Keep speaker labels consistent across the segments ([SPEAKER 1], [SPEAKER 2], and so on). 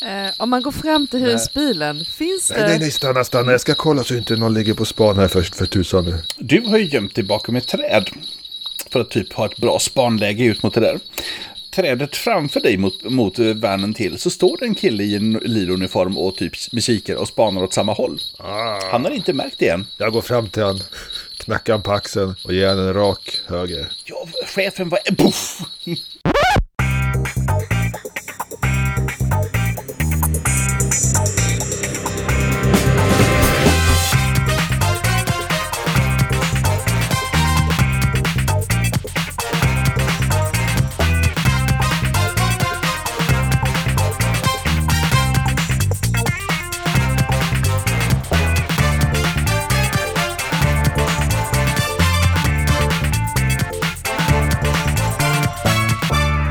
[SPEAKER 1] Eh, om man går fram till husbilen, finns
[SPEAKER 2] Nej, nej,
[SPEAKER 1] det...
[SPEAKER 2] nej, stanna, stanna. Jag ska kolla så inte någon ligger på span här först för tusan.
[SPEAKER 3] Du har ju gömt dig bakom ett träd för att typ ha ett bra spanläge ut mot det där. Trädet framför dig mot, mot eh, vanen till så står det en kille i en liluniform och typ med kikare och spanar åt samma håll. Han har inte märkt det än.
[SPEAKER 2] Jag går fram till han, knackar han på axeln och ger han en rak höger.
[SPEAKER 3] Ja, chefen var... Puff!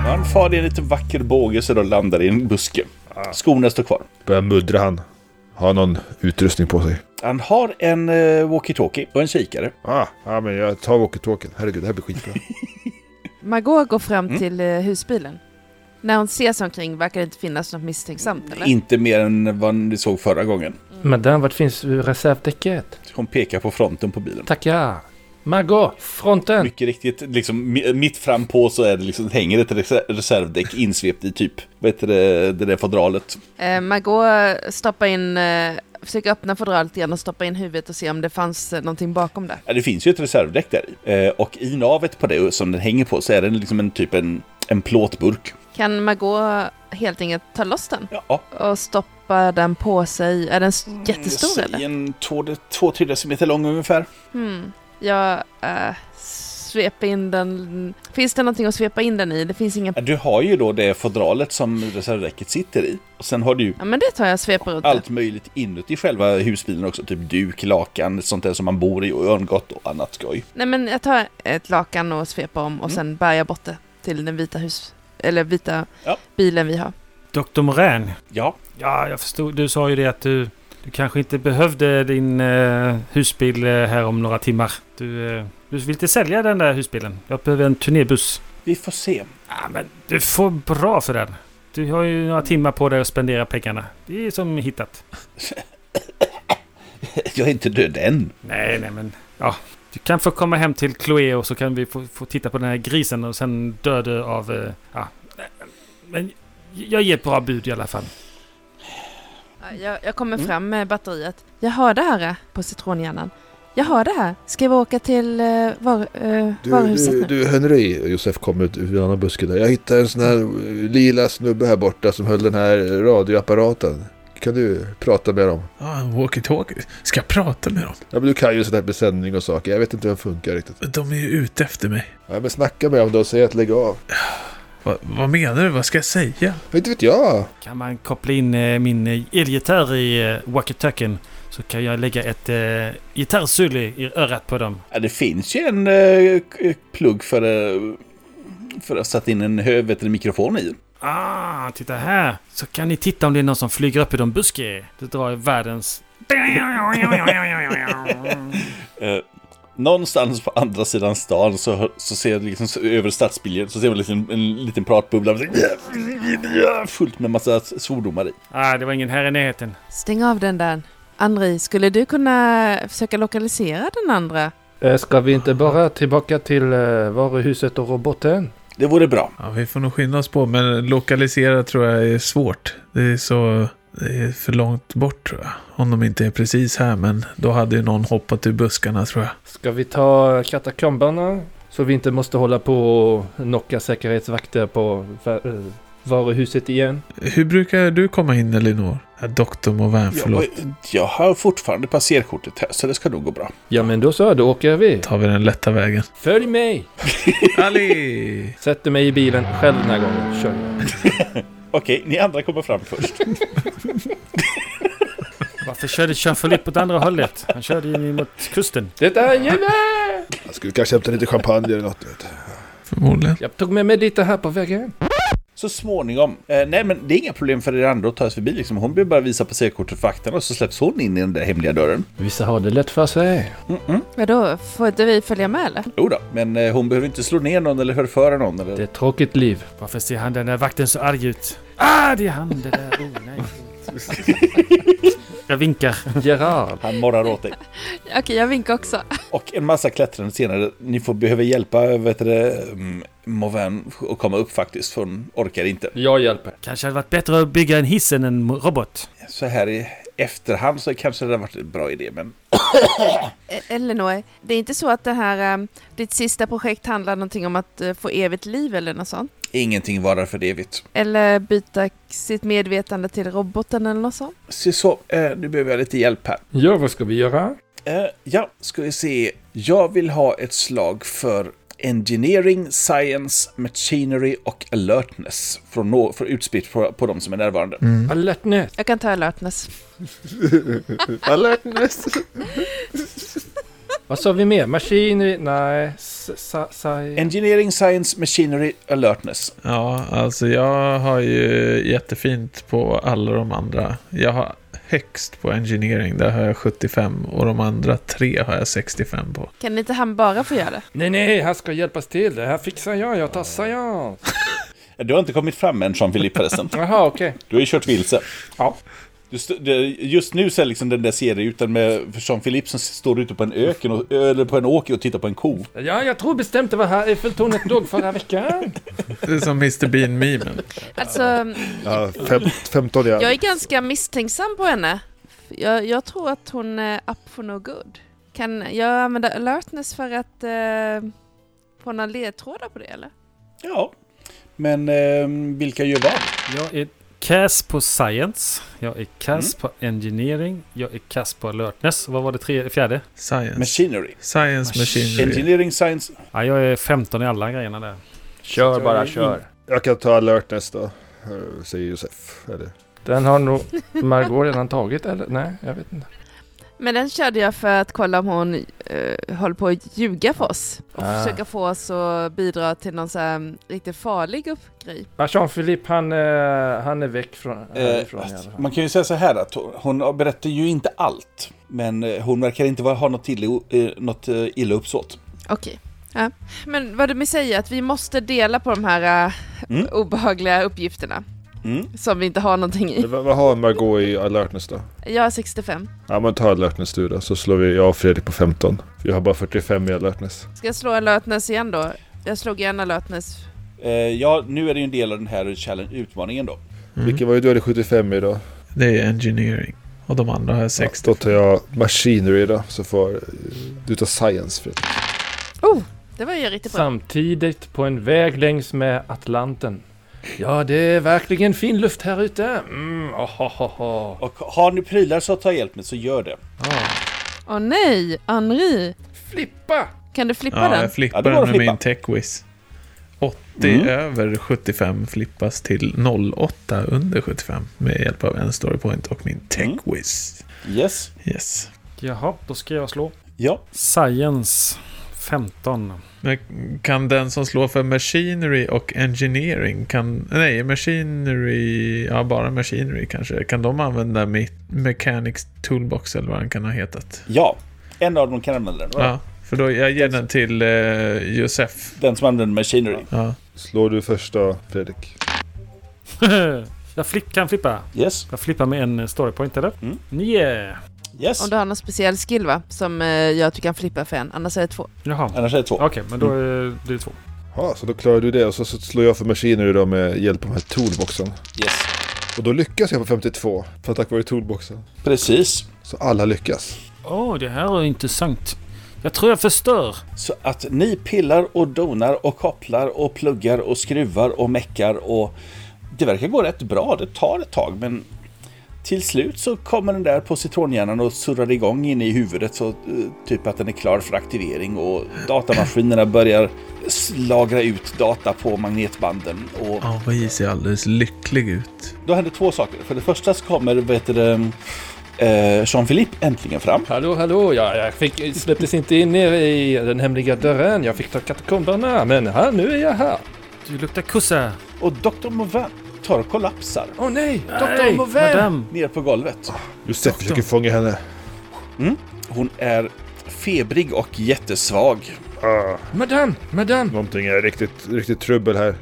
[SPEAKER 3] Han far i en liten vacker båge så då landar i en buske. Skorna står kvar.
[SPEAKER 2] Börjar muddra han. Har någon utrustning på sig.
[SPEAKER 3] Han har en eh, walkie-talkie och en kikare.
[SPEAKER 2] Ah, ja, men jag tar walkie-talkien. Herregud, det här blir skitbra.
[SPEAKER 1] Margot går fram
[SPEAKER 2] Mm.
[SPEAKER 1] till eh, husbilen. När hon ser sig omkring verkar det inte finnas något misstänksamt, eller?
[SPEAKER 3] Inte mer än vad ni såg förra gången.
[SPEAKER 4] Madame, vart finns reservdäcket?
[SPEAKER 3] Hon pekar på fronten på bilen.
[SPEAKER 4] Tackar! Margot, fronten!
[SPEAKER 3] Mycket riktigt, liksom mi- mitt fram på så är det liksom, hänger ett reser- reservdäck insvept i typ, vad heter det, det där fodralet.
[SPEAKER 1] Eh, Margot stoppar in, eh, försöker öppna fodralet igen och stoppa in huvudet och se om det fanns eh, någonting bakom det.
[SPEAKER 3] Ja, det finns ju ett reservdäck där i. Eh, och i navet på det som den hänger på så är det liksom en typ en, en plåtburk.
[SPEAKER 1] Kan Margot helt enkelt ta loss den
[SPEAKER 3] Ja,
[SPEAKER 1] och stoppa den på sig? Är den s-
[SPEAKER 2] Mm,
[SPEAKER 1] jättestor
[SPEAKER 3] säg
[SPEAKER 1] eller?
[SPEAKER 3] en två, två tre decimeter lång ungefär.
[SPEAKER 1] Hmm. Jag eh, sveper in den. Finns det någonting att svepa in den i? Det finns ingen...
[SPEAKER 3] Ja, Du har ju då det fodralet som reservdäcket sitter i. Och sen har du ju
[SPEAKER 1] Ja men det tar jag och sveper runt
[SPEAKER 3] allt möjligt inuti själva husbilen också, typ duk, lakan, sånt där som man bor i och örngott och annat skoj.
[SPEAKER 1] Nej men jag tar ett lakan och sveper om
[SPEAKER 2] Mm.
[SPEAKER 1] och sen bär jag bort det till den vita hus... Eller vita
[SPEAKER 3] Ja.
[SPEAKER 1] bilen vi har.
[SPEAKER 5] Dr. Morän,
[SPEAKER 3] Ja,
[SPEAKER 5] ja, jag förstod. Du sa ju det att du, du kanske inte behövde din eh, husbil eh, här om några timmar. Du, eh, du vill inte sälja den där husbilen. Jag behöver en turnébuss.
[SPEAKER 3] vi får se.
[SPEAKER 5] Ja, men du får bra för den. Du har ju några timmar på dig att spendera pengarna. Det är som hittat.
[SPEAKER 3] Jag är inte död än.
[SPEAKER 5] Nej, nej, men ja. Du kan få komma hem till Chloé och så kan vi få, få titta på den här grisen och sen dö du av... eh, Ja. Men jag ger ett bra bud i alla fall.
[SPEAKER 1] Ja, Jag, jag kommer
[SPEAKER 3] Mm.
[SPEAKER 1] fram med batteriet. Jag har det här eh, på citronhjärnan. Jag har det här. Ska vi åka till eh, var, eh,
[SPEAKER 2] Du,
[SPEAKER 1] varuhuset
[SPEAKER 2] du,
[SPEAKER 1] nu?
[SPEAKER 2] du Henry, Josef kom ut ur en annan buske där. Jag hittade en sån här eh, lila snubbe här borta som höll den här radioapparaten. Kan du prata med dem?
[SPEAKER 6] Ah, en walkie-talkie. Ska jag prata med dem?
[SPEAKER 2] Ja, men du kan ju sån här besändning och saker. Jag vet inte hur den funkar riktigt.
[SPEAKER 6] De är ju ute efter mig.
[SPEAKER 2] Ja, men snacka med dem då och säg att lägga av.
[SPEAKER 6] Va, vad menar du? Vad ska jag säga?
[SPEAKER 2] Inte vet jag.
[SPEAKER 5] Kan man koppla in eh, min eh, elgitarr i eh, walkie-talkien så kan jag lägga ett eh, gitarrsull i i örat på dem.
[SPEAKER 3] Ja, det finns ju en eh, k- plugg för, eh, för att sätta in en hövet eller mikrofon i.
[SPEAKER 5] Ah, titta här! Så kan ni titta om det är någon som flyger upp i de buske. Det drar jag världens...
[SPEAKER 3] Eh, någonstans på andra sidan stan så, hör- så ser jag liksom så- över stadsbilden så ser man liksom en liten pratbubbla. Fullt med massa svordomar i.
[SPEAKER 5] Ah, det var ingen här i närheten.
[SPEAKER 1] Stäng av den där. Andri, skulle du kunna försöka lokalisera den andra?
[SPEAKER 4] Eh, Ska vi inte bara tillbaka till eh, varuhuset och roboten?
[SPEAKER 3] Det vore bra.
[SPEAKER 6] Ja, vi får nog skynda oss på, men lokalisera tror jag är svårt. Det är så... Det är för långt bort tror jag. Om de inte är precis här, men då hade ju någon hoppat ur buskarna tror jag.
[SPEAKER 4] Ska vi ta katakomberna? Så vi inte måste hålla på och knocka säkerhetsvakter på va- eh, varuhuset igen.
[SPEAKER 6] Hur brukar du komma in, Elinor? Ja, doktor Movan, förlåt.
[SPEAKER 3] Jag, jag har fortfarande passerkortet här så det ska nog gå bra.
[SPEAKER 4] Ja men då så, då åker vi.
[SPEAKER 6] Tar vi den lätta vägen.
[SPEAKER 4] Följ mig!
[SPEAKER 6] Ali!
[SPEAKER 4] Sätter mig i bilen själv den här gången. Kör jag.
[SPEAKER 3] Okej, ni andra kommer fram först.
[SPEAKER 5] Varför körde Jean Philippe åt andra hållet? Han körde ju mot kusten.
[SPEAKER 4] Det är en jävel!
[SPEAKER 2] Jag skulle kanske hämta lite champagne eller något. Vet. du.
[SPEAKER 6] Förmodligen.
[SPEAKER 4] Jag tog med mig lite här på vägen.
[SPEAKER 3] Så småningom. Eh, nej, men det är inga problem för er andra att ta er förbi. Liksom. Hon behöver bara visa passerkortet för vakterna och så släpps hon in i den där hemliga dörren.
[SPEAKER 7] Vissa har det lätt för sig.
[SPEAKER 3] Mm-mm.
[SPEAKER 1] Vadå, får inte vi följa med eller?
[SPEAKER 3] Jo då, men eh, hon behöver inte slå ner någon eller förföra någon. Eller...
[SPEAKER 7] Det är ett tråkigt liv.
[SPEAKER 5] Varför ser han den där vakten så arg ut? Ah, det är han det där. Oh, nej. Jag vinkar.
[SPEAKER 7] Gerard.
[SPEAKER 3] Han morrar åt dig.
[SPEAKER 1] Okej, jag vinkar också.
[SPEAKER 3] Och en massa klättrande senare. Ni får behöva hjälpa vet du, det, mm, Moven att komma upp faktiskt, för hon orkar inte.
[SPEAKER 7] Jag hjälper.
[SPEAKER 5] Kanske hade varit bättre att bygga en hiss än en robot.
[SPEAKER 3] Så här i efterhand så kanske det hade varit en bra idé, men
[SPEAKER 1] E- Elinor, det är inte så att det här, eh, ditt sista projekt handlar någonting om att eh, få evigt liv eller något sånt?
[SPEAKER 3] ingenting varar för evigt.
[SPEAKER 1] Eller byta k- sitt medvetande till roboten eller något sånt?
[SPEAKER 3] Se så, eh, nu behöver jag lite hjälp här.
[SPEAKER 7] Ja, vad ska vi göra?
[SPEAKER 3] Eh, ja, ska vi se. Jag vill ha ett slag för Engineering, Science, Machinery och Alertness. Från nå- för utspritt på, på de som är närvarande.
[SPEAKER 6] Mm.
[SPEAKER 7] Alertness.
[SPEAKER 1] Jag kan ta alertness.
[SPEAKER 2] Alertness!
[SPEAKER 7] Vad sa vi mer? Maskin? Nej. S- sa- sa-
[SPEAKER 3] Engineering, Science, Machinery, Alertness.
[SPEAKER 6] Ja, alltså jag har ju jättefint på alla de andra. Jag har högst på engineering, där har jag 75 och de andra tre har jag 65 på.
[SPEAKER 1] Kan inte han bara få göra det?
[SPEAKER 7] Nej, nej, här ska hjälpas till. Det här fixar jag. Jag tassar jag.
[SPEAKER 3] Du har inte kommit fram än, Jean-Philippe förresten.
[SPEAKER 7] Jaha, okej.
[SPEAKER 3] Du har ju kört vilse.
[SPEAKER 7] Ja.
[SPEAKER 3] Du st- det- Just nu så är liksom den där serierutan med Jean-Philippe som står ute på en, öken och, eller på en åker och tittar på en ko.
[SPEAKER 7] Ja, jag tror bestämt det var här Eiffeltornet låg förra veckan.
[SPEAKER 6] Det är som Mr Bean-memen.
[SPEAKER 1] Alltså,
[SPEAKER 2] Ja, fem, 15 ja.
[SPEAKER 1] jag är ganska misstänksam på henne. Jag, jag tror att hon är up for no good. Kan jag använda alertness för att eh, få några ledtrådar på det eller?
[SPEAKER 3] Ja. Men eh, vilka gör vad?
[SPEAKER 5] Jag är kass på science. Jag är kass på engineering. Jag är kass på alertness. Vad var det tre, fjärde?
[SPEAKER 6] Science.
[SPEAKER 3] Machinery.
[SPEAKER 6] Science machinery.
[SPEAKER 3] Engineering, science.
[SPEAKER 5] Ja, jag är 15 i alla grejerna där.
[SPEAKER 7] Kör
[SPEAKER 3] bara,
[SPEAKER 7] bara,
[SPEAKER 3] kör.
[SPEAKER 7] kör.
[SPEAKER 2] Jag kan ta alertness då, eh, säger Josef. Eller?
[SPEAKER 7] Den har nog Mm. Margot redan tagit, eller? Nej, jag vet inte.
[SPEAKER 1] Men den körde jag för att kolla om hon eh, håller på att ljuga för oss. Och
[SPEAKER 7] Ah.
[SPEAKER 1] försöka få oss att bidra till någon så här mm, riktigt farlig upp- grej.
[SPEAKER 7] Ja, Jean-Philippe, han, eh, han är väck från härifrån i alla
[SPEAKER 3] Eh,
[SPEAKER 7] fall.
[SPEAKER 3] man kan ju säga så här att hon- hon berättar ju inte allt. Men eh, hon verkar inte vara- ha något, illa, eh, något eh, illa uppsåt.
[SPEAKER 1] Okej. Ja. Men vad du säger att vi måste dela på de här eh,
[SPEAKER 3] Mm.
[SPEAKER 1] obehagliga uppgifterna
[SPEAKER 3] Mm.
[SPEAKER 1] som vi inte har någonting i.
[SPEAKER 2] Men Vad vad har Margot i alertness då?
[SPEAKER 1] Jag är 65.
[SPEAKER 2] Ja men ta alertness du då, så slår vi jag och Fredrik på 15. För Jag har bara 45 i alertness.
[SPEAKER 1] Ska jag slå alertness igen då? Jag slog igen alertness.
[SPEAKER 3] Eh, ja, nu är det ju en del av den här challenge- utmaningen då.
[SPEAKER 6] Mm.
[SPEAKER 2] Vilken var ju du hade 75 i då?
[SPEAKER 6] Det är engineering. Och de andra har jag 60.
[SPEAKER 2] Då tar jag machinery då, så får eh, du ta science Fredrik.
[SPEAKER 1] Det var ju riktigt bra.
[SPEAKER 7] Samtidigt på en väg längs med Atlanten. Ja, det är verkligen fin luft här ute. Mm, oh, oh, oh, oh.
[SPEAKER 3] Och har ni prylar så ta hjälp med så gör det.
[SPEAKER 1] Åh nej, Henri!
[SPEAKER 7] Flippa!
[SPEAKER 1] Kan du flippa
[SPEAKER 6] Ja,
[SPEAKER 1] den?
[SPEAKER 6] jag
[SPEAKER 3] Ja,
[SPEAKER 6] flippar
[SPEAKER 3] det var
[SPEAKER 6] den
[SPEAKER 3] att
[SPEAKER 6] med
[SPEAKER 3] flippa.
[SPEAKER 6] min techwiz. 80
[SPEAKER 3] Mm.
[SPEAKER 6] över 75 flippas till 08 under 75 med hjälp av en storypoint och min techwiz.
[SPEAKER 3] Yes.
[SPEAKER 6] Yes.
[SPEAKER 5] Jaha, då ska jag slå.
[SPEAKER 3] Ja.
[SPEAKER 5] Science 15.
[SPEAKER 6] Men kan den som slår för machinery och engineering, kan, nej machinery, ja bara machinery kanske, kan de använda mitt mechanics toolbox eller vad den kan ha hetat?
[SPEAKER 3] Ja. En av dem kan använda den.
[SPEAKER 6] Ja, för då jag ger den till eh, Josef.
[SPEAKER 3] Den som använder machinery.
[SPEAKER 6] Ja.
[SPEAKER 2] Slår du första Fredrik?
[SPEAKER 5] jag flipp, kan flippa.
[SPEAKER 3] Yes.
[SPEAKER 5] Jag flippar med en storypoint eller?
[SPEAKER 3] Mm.
[SPEAKER 5] Nio.
[SPEAKER 3] Yes.
[SPEAKER 1] Om du har någon speciell skill va? Som eh, gör att du kan flippa för en, annars är det två.
[SPEAKER 5] Jaha.
[SPEAKER 3] Annars är det två.
[SPEAKER 5] Okej, men då är det två.
[SPEAKER 2] Ja, så då klarar du det och så så slår jag för machinery då med hjälp av den här toolboxen.
[SPEAKER 3] Yes.
[SPEAKER 2] Och då lyckas jag på 52, för tack vare toolboxen.
[SPEAKER 3] Precis.
[SPEAKER 2] Så alla lyckas.
[SPEAKER 5] Åh, det här är intressant. Jag tror jag förstör.
[SPEAKER 3] Så att ni pillar och donar och kopplar och pluggar och skruvar och meckar och det verkar gå rätt bra. Det tar ett tag men till slut så kommer den där på citronhjärnan och surrar igång inne i huvudet så eh, typ att den är klar för aktivering och datamaskinerna börjar slagra ut data på magnetbanden och
[SPEAKER 6] Ja, vad ser alldeles lycklig ut.
[SPEAKER 3] Då händer två saker. För det första så kommer vad heter det, eh, Jean-Philippe äntligen fram.
[SPEAKER 7] Hallå, hallå! Ja, jag fick, släpptes inte in nere i den hemliga dörren. Jag fick ta katakomberna, men här, nu är jag här.
[SPEAKER 5] Du luktar kossa.
[SPEAKER 3] Och Dr. Mauvin tar kollapsar
[SPEAKER 7] Åh nej! Doktor
[SPEAKER 5] Nej,
[SPEAKER 7] Mauvais!
[SPEAKER 5] madame.
[SPEAKER 3] ner på golvet.
[SPEAKER 2] Josef försöker fånga henne.
[SPEAKER 3] Hon är febrig och jättesvag.
[SPEAKER 2] Ah,
[SPEAKER 7] Madame! Madame!
[SPEAKER 2] någonting är riktigt, riktigt trubbel här.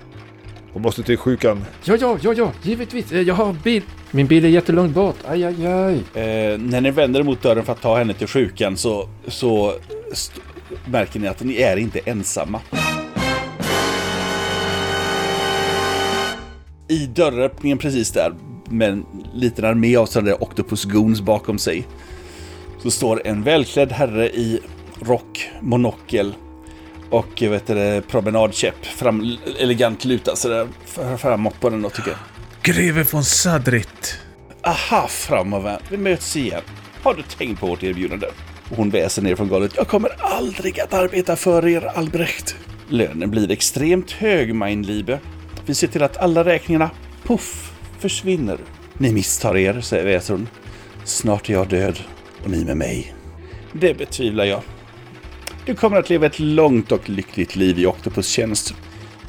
[SPEAKER 2] Hon måste till sjukan.
[SPEAKER 7] Ja, ja, ja, ja, givetvis. Eh, Jag har bil. Min bil är jättelångt bort. Aj, aj, aj.
[SPEAKER 3] Eh, när ni vänder er mot dörren för att ta henne till sjukan så, så st- märker ni att ni är inte ensamma. I dörröppningen precis där, med en liten armé av sådana där Octopus Goons bakom sig, så står en välklädd herre i rock, monokel och eh, vet du, det, promenadkäpp, fram, elegant lutad sådär f- framåt på den då tycker jag.
[SPEAKER 6] Greve von Sadrit.
[SPEAKER 3] Aha, framöver. Vi möts igen. Har du tänkt på vårt erbjudande? Och Hon väser ner från golvet. Jag kommer aldrig att arbeta för er, Albrecht. Lönen blir extremt hög, mein Liebe. Vi ser till att alla räkningarna, puff, försvinner. Ni misstar er, säger väser hon. Snart är jag död och ni med mig. Det betvivlar jag. Du kommer att leva ett långt och lyckligt liv i Octopus tjänst.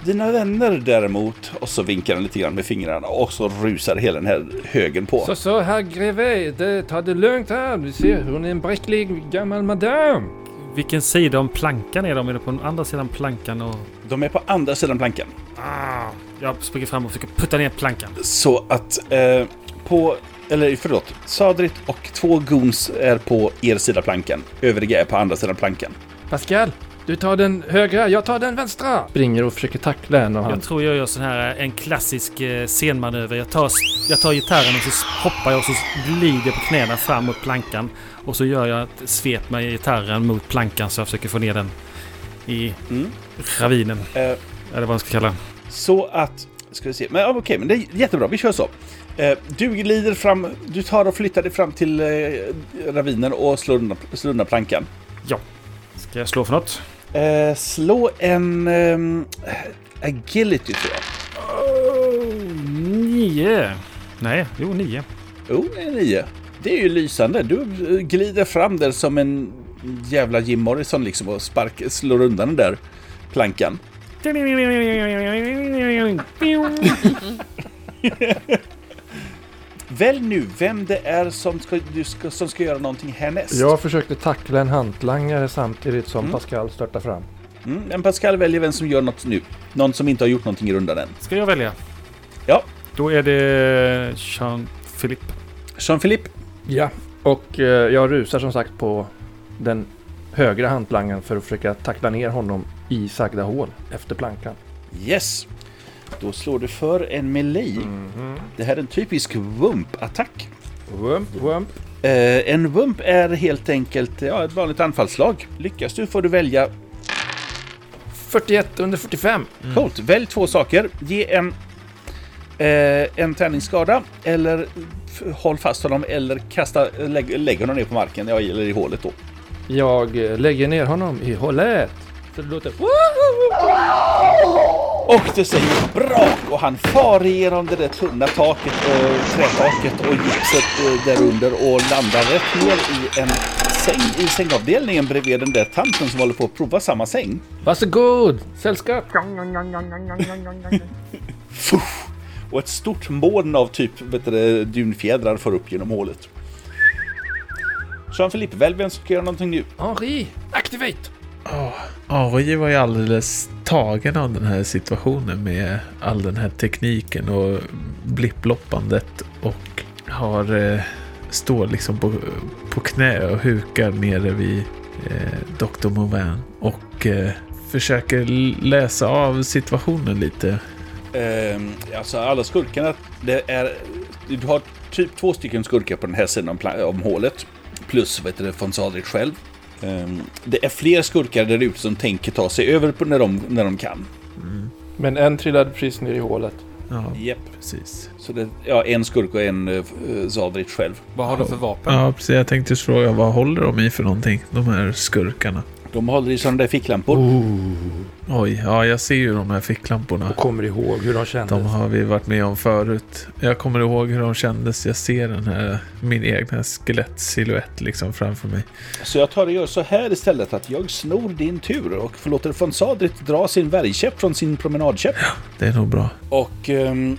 [SPEAKER 3] Dina vänner däremot, och så vinkar han lite grann med fingrarna och så rusar hela den här högen på.
[SPEAKER 7] Så, så, herr greve, det, ta det lugnt här. Du ser, hon är en bräcklig gammal madame.
[SPEAKER 5] Vilken sida om plankan är de? Är det på den andra sidan plankan? Och...
[SPEAKER 3] De är på andra sidan plankan.
[SPEAKER 5] Ah, jag springer fram och försöker putta ner plankan.
[SPEAKER 3] Så att eh, på... Eller förlåt. Sadrit och två goons är på er sida plankan. Övriga är på andra sidan plankan.
[SPEAKER 7] Pascal, du tar den högra, jag tar den vänstra. Springer och försöker tackla henne och han.
[SPEAKER 5] Jag tror jag gör sån här eh, en klassisk eh, scenmanöver. Jag tar, jag tar gitarren och så hoppar jag och så glider på knäna fram mot plankan. Och så gör jag ett svep med gitarren mot plankan så jag försöker få ner den i
[SPEAKER 3] Mm.
[SPEAKER 5] ravinen.
[SPEAKER 3] Eh,
[SPEAKER 5] Eller vad man ska kalla det.
[SPEAKER 3] Så att... Ska vi se. Men ja, okej, men det är jättebra. Vi kör så. Eh, du glider fram. Du tar och flyttar dig fram till eh, ravinen och slår undan, slår undan plankan.
[SPEAKER 5] Ska jag slå för något?
[SPEAKER 3] Eh, slå en... ehm, agility tror jag. Oh,
[SPEAKER 5] Nio! Nej, jo nio.
[SPEAKER 3] Jo, det är nio. Det är ju lysande. Du eh, glider fram där som en jävla Jim Morrison liksom och spark, slår undan den där plankan. Välj nu vem det är som ska, du ska, som ska göra någonting härnäst.
[SPEAKER 7] Jag försökte tackla en hantlangare samtidigt som
[SPEAKER 3] Mm.
[SPEAKER 7] Pascal störtar fram.
[SPEAKER 3] Mm, men Pascal väljer vem som gör något nu. Någon som inte har gjort någonting i rundan än.
[SPEAKER 5] Ska jag välja?
[SPEAKER 3] Ja.
[SPEAKER 5] Då är det Jean-Philippe.
[SPEAKER 3] Jean-Philippe,
[SPEAKER 7] Ja, och eh, jag rusar som sagt på den högra hantlangaren för att försöka tackla ner honom i sagda hål efter plankan.
[SPEAKER 3] yes. Då slår du för en melee. Det här är en typisk wump-attack.
[SPEAKER 7] Wump, wump.
[SPEAKER 3] Eh, en wump är helt enkelt ja, ett vanligt anfallslag. Lyckas du får du välja
[SPEAKER 7] 41 under 45.
[SPEAKER 3] Coolt. Välj två saker. Ge en, eh, en träningsskada eller f- håll fast honom eller kasta, lägg, lägg honom ner på marken ja, eller i hålet då.
[SPEAKER 7] Jag eh, lägger ner honom i hålet. Så det låter...
[SPEAKER 3] Och det säger brak och han far igenom det där tunna taket, eh, trätaket och gipset eh, därunder och landar rätt ner i en säng i sängavdelningen bredvid den där tanten som håller på att prova samma säng.
[SPEAKER 7] Varsågod! Sällskap!
[SPEAKER 3] Fuff! Och ett stort moln av typ vet du, det, dunfjädrar far upp genom hålet. Jean-Philippe, välj vem som ska göra någonting nu.
[SPEAKER 7] Henri, activate!
[SPEAKER 6] Ari var ju alldeles tagen av den här situationen med all den här tekniken och blipploppandet och har eh, står liksom på, på knä och hukar nere vid eh, Dr. Mauvin och eh, försöker l- läsa av situationen lite.
[SPEAKER 3] Ehm, alltså alla skurkarna, det är... Du har typ två stycken skurkar på den här sidan om, pla- om hålet. Plus, vad heter det, von Sadrich själv. Ehm, det är fler skurkar där ute som tänker ta sig över på när de, när de kan.
[SPEAKER 7] Men en trillade precis ner i hålet.
[SPEAKER 6] Ja,
[SPEAKER 3] Japp.
[SPEAKER 6] precis.
[SPEAKER 3] Så det, ja, en skurk och en uh, Sadrich själv.
[SPEAKER 8] Vad har de för vapen?
[SPEAKER 6] Ja, precis. Jag tänkte just fråga vad håller de i för någonting, de här skurkarna?
[SPEAKER 3] De håller i sådana där ficklampor.
[SPEAKER 6] Oj, ja jag ser ju de här ficklamporna.
[SPEAKER 7] Och kommer ihåg hur de kändes.
[SPEAKER 6] De har vi varit med om förut. Jag kommer ihåg hur de kändes. Jag ser den här, min egna skelettsilhuett liksom framför mig.
[SPEAKER 3] Så jag tar och gör så här istället att jag snor din tur och förlåter von Sadrit dra sin värjkäpp från sin promenadkäpp.
[SPEAKER 6] Det är nog bra.
[SPEAKER 3] Och ehm,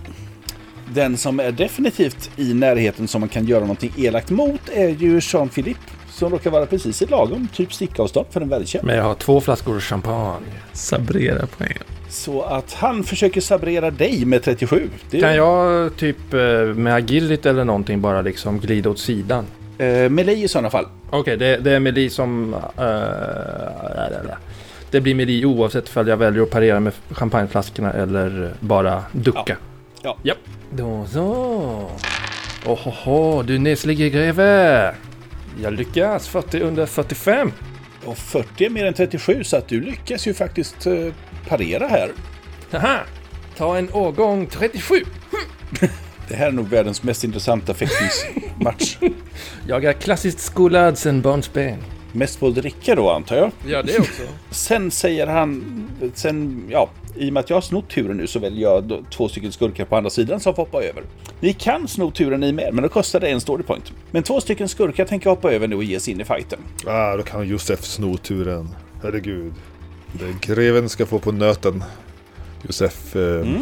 [SPEAKER 3] den som är definitivt i närheten som man kan göra någonting elakt mot är ju Jean-Philippe. Som råkar vara precis i lagom, typ stickavstånd för en värjkäpp.
[SPEAKER 7] Men jag har två flaskor champagne.
[SPEAKER 6] Sabrera poäng.
[SPEAKER 3] Så att han försöker sabrera dig med 37. Det
[SPEAKER 7] Kan jag typ eh, med agility eller någonting bara liksom glida åt sidan?
[SPEAKER 3] Eh, melee i sådana fall.
[SPEAKER 7] Okej, det, det är Meli som... eh, där, där, där. det blir Meli oavsett om jag väljer att parera med champagneflaskorna eller bara ducka.
[SPEAKER 3] Ja.
[SPEAKER 7] Japp. Då så. Ohoho, du neslige greve. Jag lyckas. 40 under 45.
[SPEAKER 3] Och 40 är mer än 37 så att du lyckas ju faktiskt eh, parera här.
[SPEAKER 7] Haha. Ta en årgång 37.
[SPEAKER 3] Det här är nog världens mest intressanta fäktningsmatch.
[SPEAKER 7] Jag är klassiskt skolad sedan barnsben.
[SPEAKER 3] mest på att dricka då antar jag.
[SPEAKER 7] Ja, det också.
[SPEAKER 3] Sen säger han, sen, ja, i och med att jag har snott turen nu så väljer jag då två stycken skurkar på andra sidan som får hoppa över. Ni kan sno turen ni med, men då kostar det en story point. Men två stycken skurkar tänker hoppa över nu och ge sig in i fighten.
[SPEAKER 2] Ah, då kan Josef sno turen. Herregud. Den greven ska få på nöten. Josef eh,
[SPEAKER 3] Mm.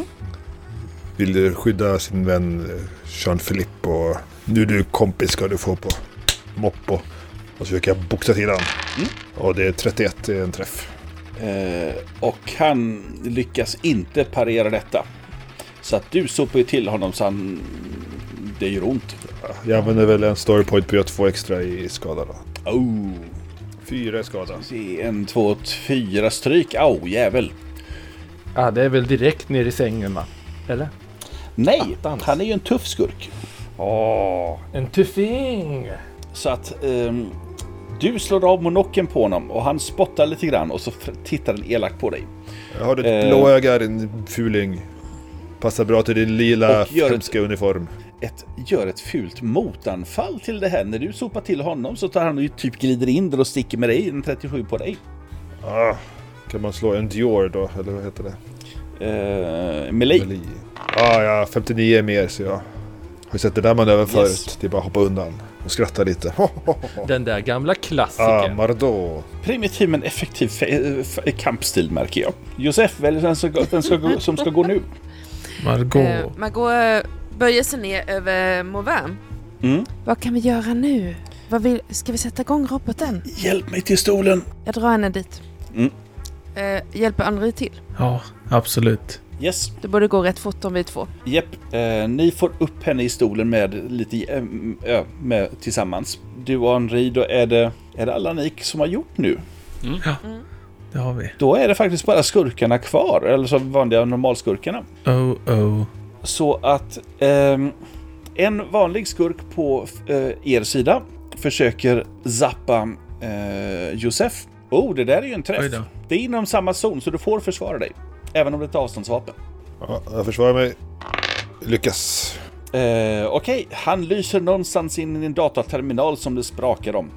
[SPEAKER 2] vill skydda sin vän eh, Jean-Philippe och nu du kompis ska du få på moppo. Och så försöker jag boxa till han. Och det är 31 det är en träff.
[SPEAKER 3] Eh, och han lyckas inte parera detta. Så att du sopar ju till honom så han... Det gör ont.
[SPEAKER 2] Jag använder väl en story point på att få extra i skada då.
[SPEAKER 3] Oh.
[SPEAKER 2] Fyra i skada.
[SPEAKER 3] Se, en, två, t- fyra stryk. Au, jävel.
[SPEAKER 7] Ja, det är väl direkt ner i sängen va? Eller?
[SPEAKER 3] Nej,
[SPEAKER 7] Attans.
[SPEAKER 3] han är ju en tuff skurk.
[SPEAKER 7] Åh, en tuffing!
[SPEAKER 3] Så att ehm, du slår av monocken på honom och han spottar lite grann och så f- tittar den elakt på dig.
[SPEAKER 2] Har du ett
[SPEAKER 3] Eh.
[SPEAKER 2] blå öga din fuling? Passar bra till din lila
[SPEAKER 3] Och gör ett-
[SPEAKER 2] hemska uniform.
[SPEAKER 3] Ett, gör ett fult motanfall till det här. När du sopar till honom så tar han och typ glider in där och sticker med dig, en 37 på dig.
[SPEAKER 2] Ah, kan man slå endure då, eller vad heter det?
[SPEAKER 3] Uh, Melee.
[SPEAKER 2] Melee. Ah, ja, 59 är mer så jag har ju sett den där manövern
[SPEAKER 3] Yes.
[SPEAKER 2] förut. Det är bara att hoppa undan och skratta lite.
[SPEAKER 7] Den där gamla
[SPEAKER 2] ah,
[SPEAKER 7] klassikern.
[SPEAKER 2] Mardot.
[SPEAKER 3] Primitiv men effektiv fe- f- kampstil märker jag. Josef väljer den, som, den ska gå, som ska gå nu.
[SPEAKER 6] Margot.
[SPEAKER 1] Eh, Margot eh, böjer sig ner över Movem.
[SPEAKER 3] Mm.
[SPEAKER 1] Vad kan vi göra nu? Vad vill, ska vi sätta igång roboten?
[SPEAKER 3] Hjälp mig till stolen!
[SPEAKER 1] Jag drar henne dit.
[SPEAKER 3] Mm.
[SPEAKER 1] Eh, hjälper Anri till.
[SPEAKER 6] Ja, absolut.
[SPEAKER 3] Yes.
[SPEAKER 1] Det borde gå rätt fort om vi är två.
[SPEAKER 3] Jepp, eh, ni får upp henne i stolen med lite eh, m- ö, med, tillsammans. Du och Henri, då är det, är det alla ni som har gjort nu.
[SPEAKER 6] Det har vi.
[SPEAKER 3] Då är det faktiskt bara skurkarna kvar, eller så vanliga normalskurkarna.
[SPEAKER 6] Oh, oh.
[SPEAKER 3] Så att ehm, en vanlig skurk på eh, er sida försöker zappa eh, Josef. Oh, det där är ju en
[SPEAKER 6] Oj
[SPEAKER 3] träff.
[SPEAKER 6] då.
[SPEAKER 3] Det är inom samma zon, så du får försvara dig. Även om det är ett avståndsvapen.
[SPEAKER 2] Ja, jag försvarar mig. Lyckas.
[SPEAKER 3] Eh, Okej, han lyser någonstans in i en dataterminal som det sprakar om.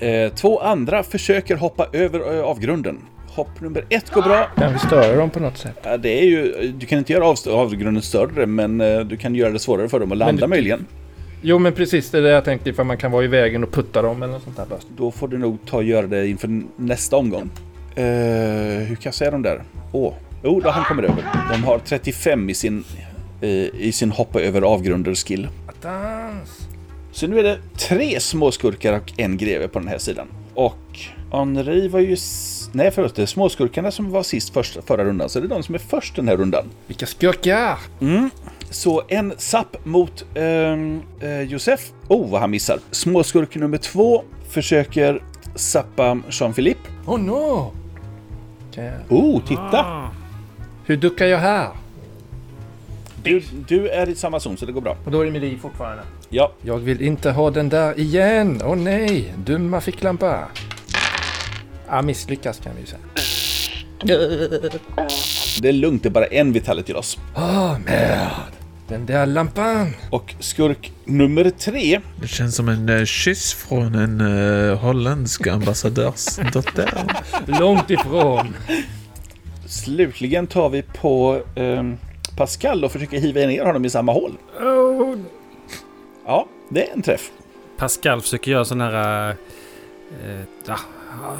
[SPEAKER 3] Eh, två andra försöker hoppa över eh, avgrunden. Hopp nummer ett går bra.
[SPEAKER 7] Kan vi störa dem på något sätt?
[SPEAKER 3] Eh, det är ju, du kan inte göra avst- avgrunden större, men eh, du kan göra det svårare för dem att landa
[SPEAKER 7] det-
[SPEAKER 3] möjligen.
[SPEAKER 7] Jo, men precis. Det är det jag tänkte ifall man kan vara i vägen och putta dem eller något sånt där. bara.
[SPEAKER 3] Då får du nog ta och göra det inför n- nästa omgång. Eh, hur kass är de där? Åh, Jo, då han kommer över. De har 35 i sin, eh, i sin hoppa över avgrunder-skill.
[SPEAKER 7] Attans!
[SPEAKER 3] Så nu är det tre småskurkar och en greve på den här sidan. Och Henri var ju... s- Nej förlåt, det är småskurkarna som var sist första, förra rundan, så det är de som är först den här rundan.
[SPEAKER 7] Vilka skurkar!
[SPEAKER 3] Så en sapp mot ehm, eh, Josef. Oh, vad han missar. Småskurk nummer två försöker sappa Jean-Philippe.
[SPEAKER 7] Oh no! Kan jag...
[SPEAKER 3] Oh, titta!
[SPEAKER 7] Hur duckar jag här?
[SPEAKER 3] Du, du är i samma zon, så det går bra.
[SPEAKER 7] Och då är det Meli fortfarande.
[SPEAKER 3] Ja,
[SPEAKER 7] Jag vill inte ha den där igen! Åh nej! Dumma ficklampa! Ah, misslyckas kan vi ju säga.
[SPEAKER 3] det är lugnt, det är bara en vitality loss.
[SPEAKER 7] Ah, merde! Den där lampan!
[SPEAKER 3] Och skurk nummer tre
[SPEAKER 6] Det känns som en eh, kyss från en eh, holländsk ambassadörsdotter.
[SPEAKER 4] Långt ifrån.
[SPEAKER 3] Slutligen tar vi på ehm, Pascal och försöker hiva ner honom i samma hål. Oh, Ja, det är en träff.
[SPEAKER 5] Pascal försöker göra sån här... Eh, ja,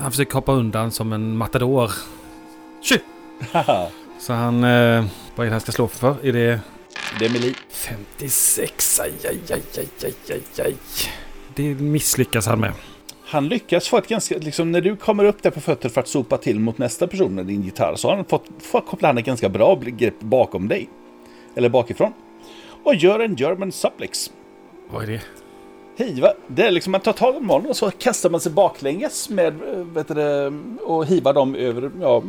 [SPEAKER 5] han försöker hoppa undan som en matador. Tju!
[SPEAKER 3] Haha,
[SPEAKER 5] Så han... Eh, vad är det han ska slå för? Är det...
[SPEAKER 3] det är Meli.
[SPEAKER 5] 56, aj, aj, aj, aj, aj, aj, aj. Det misslyckas han med.
[SPEAKER 3] Han lyckas få ett ganska, liksom när du kommer upp där på fötter för att sopa till mot nästa person med din gitarr så har han fått, fått koppla han ett ganska bra grepp bakom dig. Eller bakifrån. Och gör en German suplex.
[SPEAKER 5] Vad är det?
[SPEAKER 3] Hiva, det är liksom man tar tag i molnen och så kastar man sig baklänges med, eh, vet du, det, och hivar dem över, ja,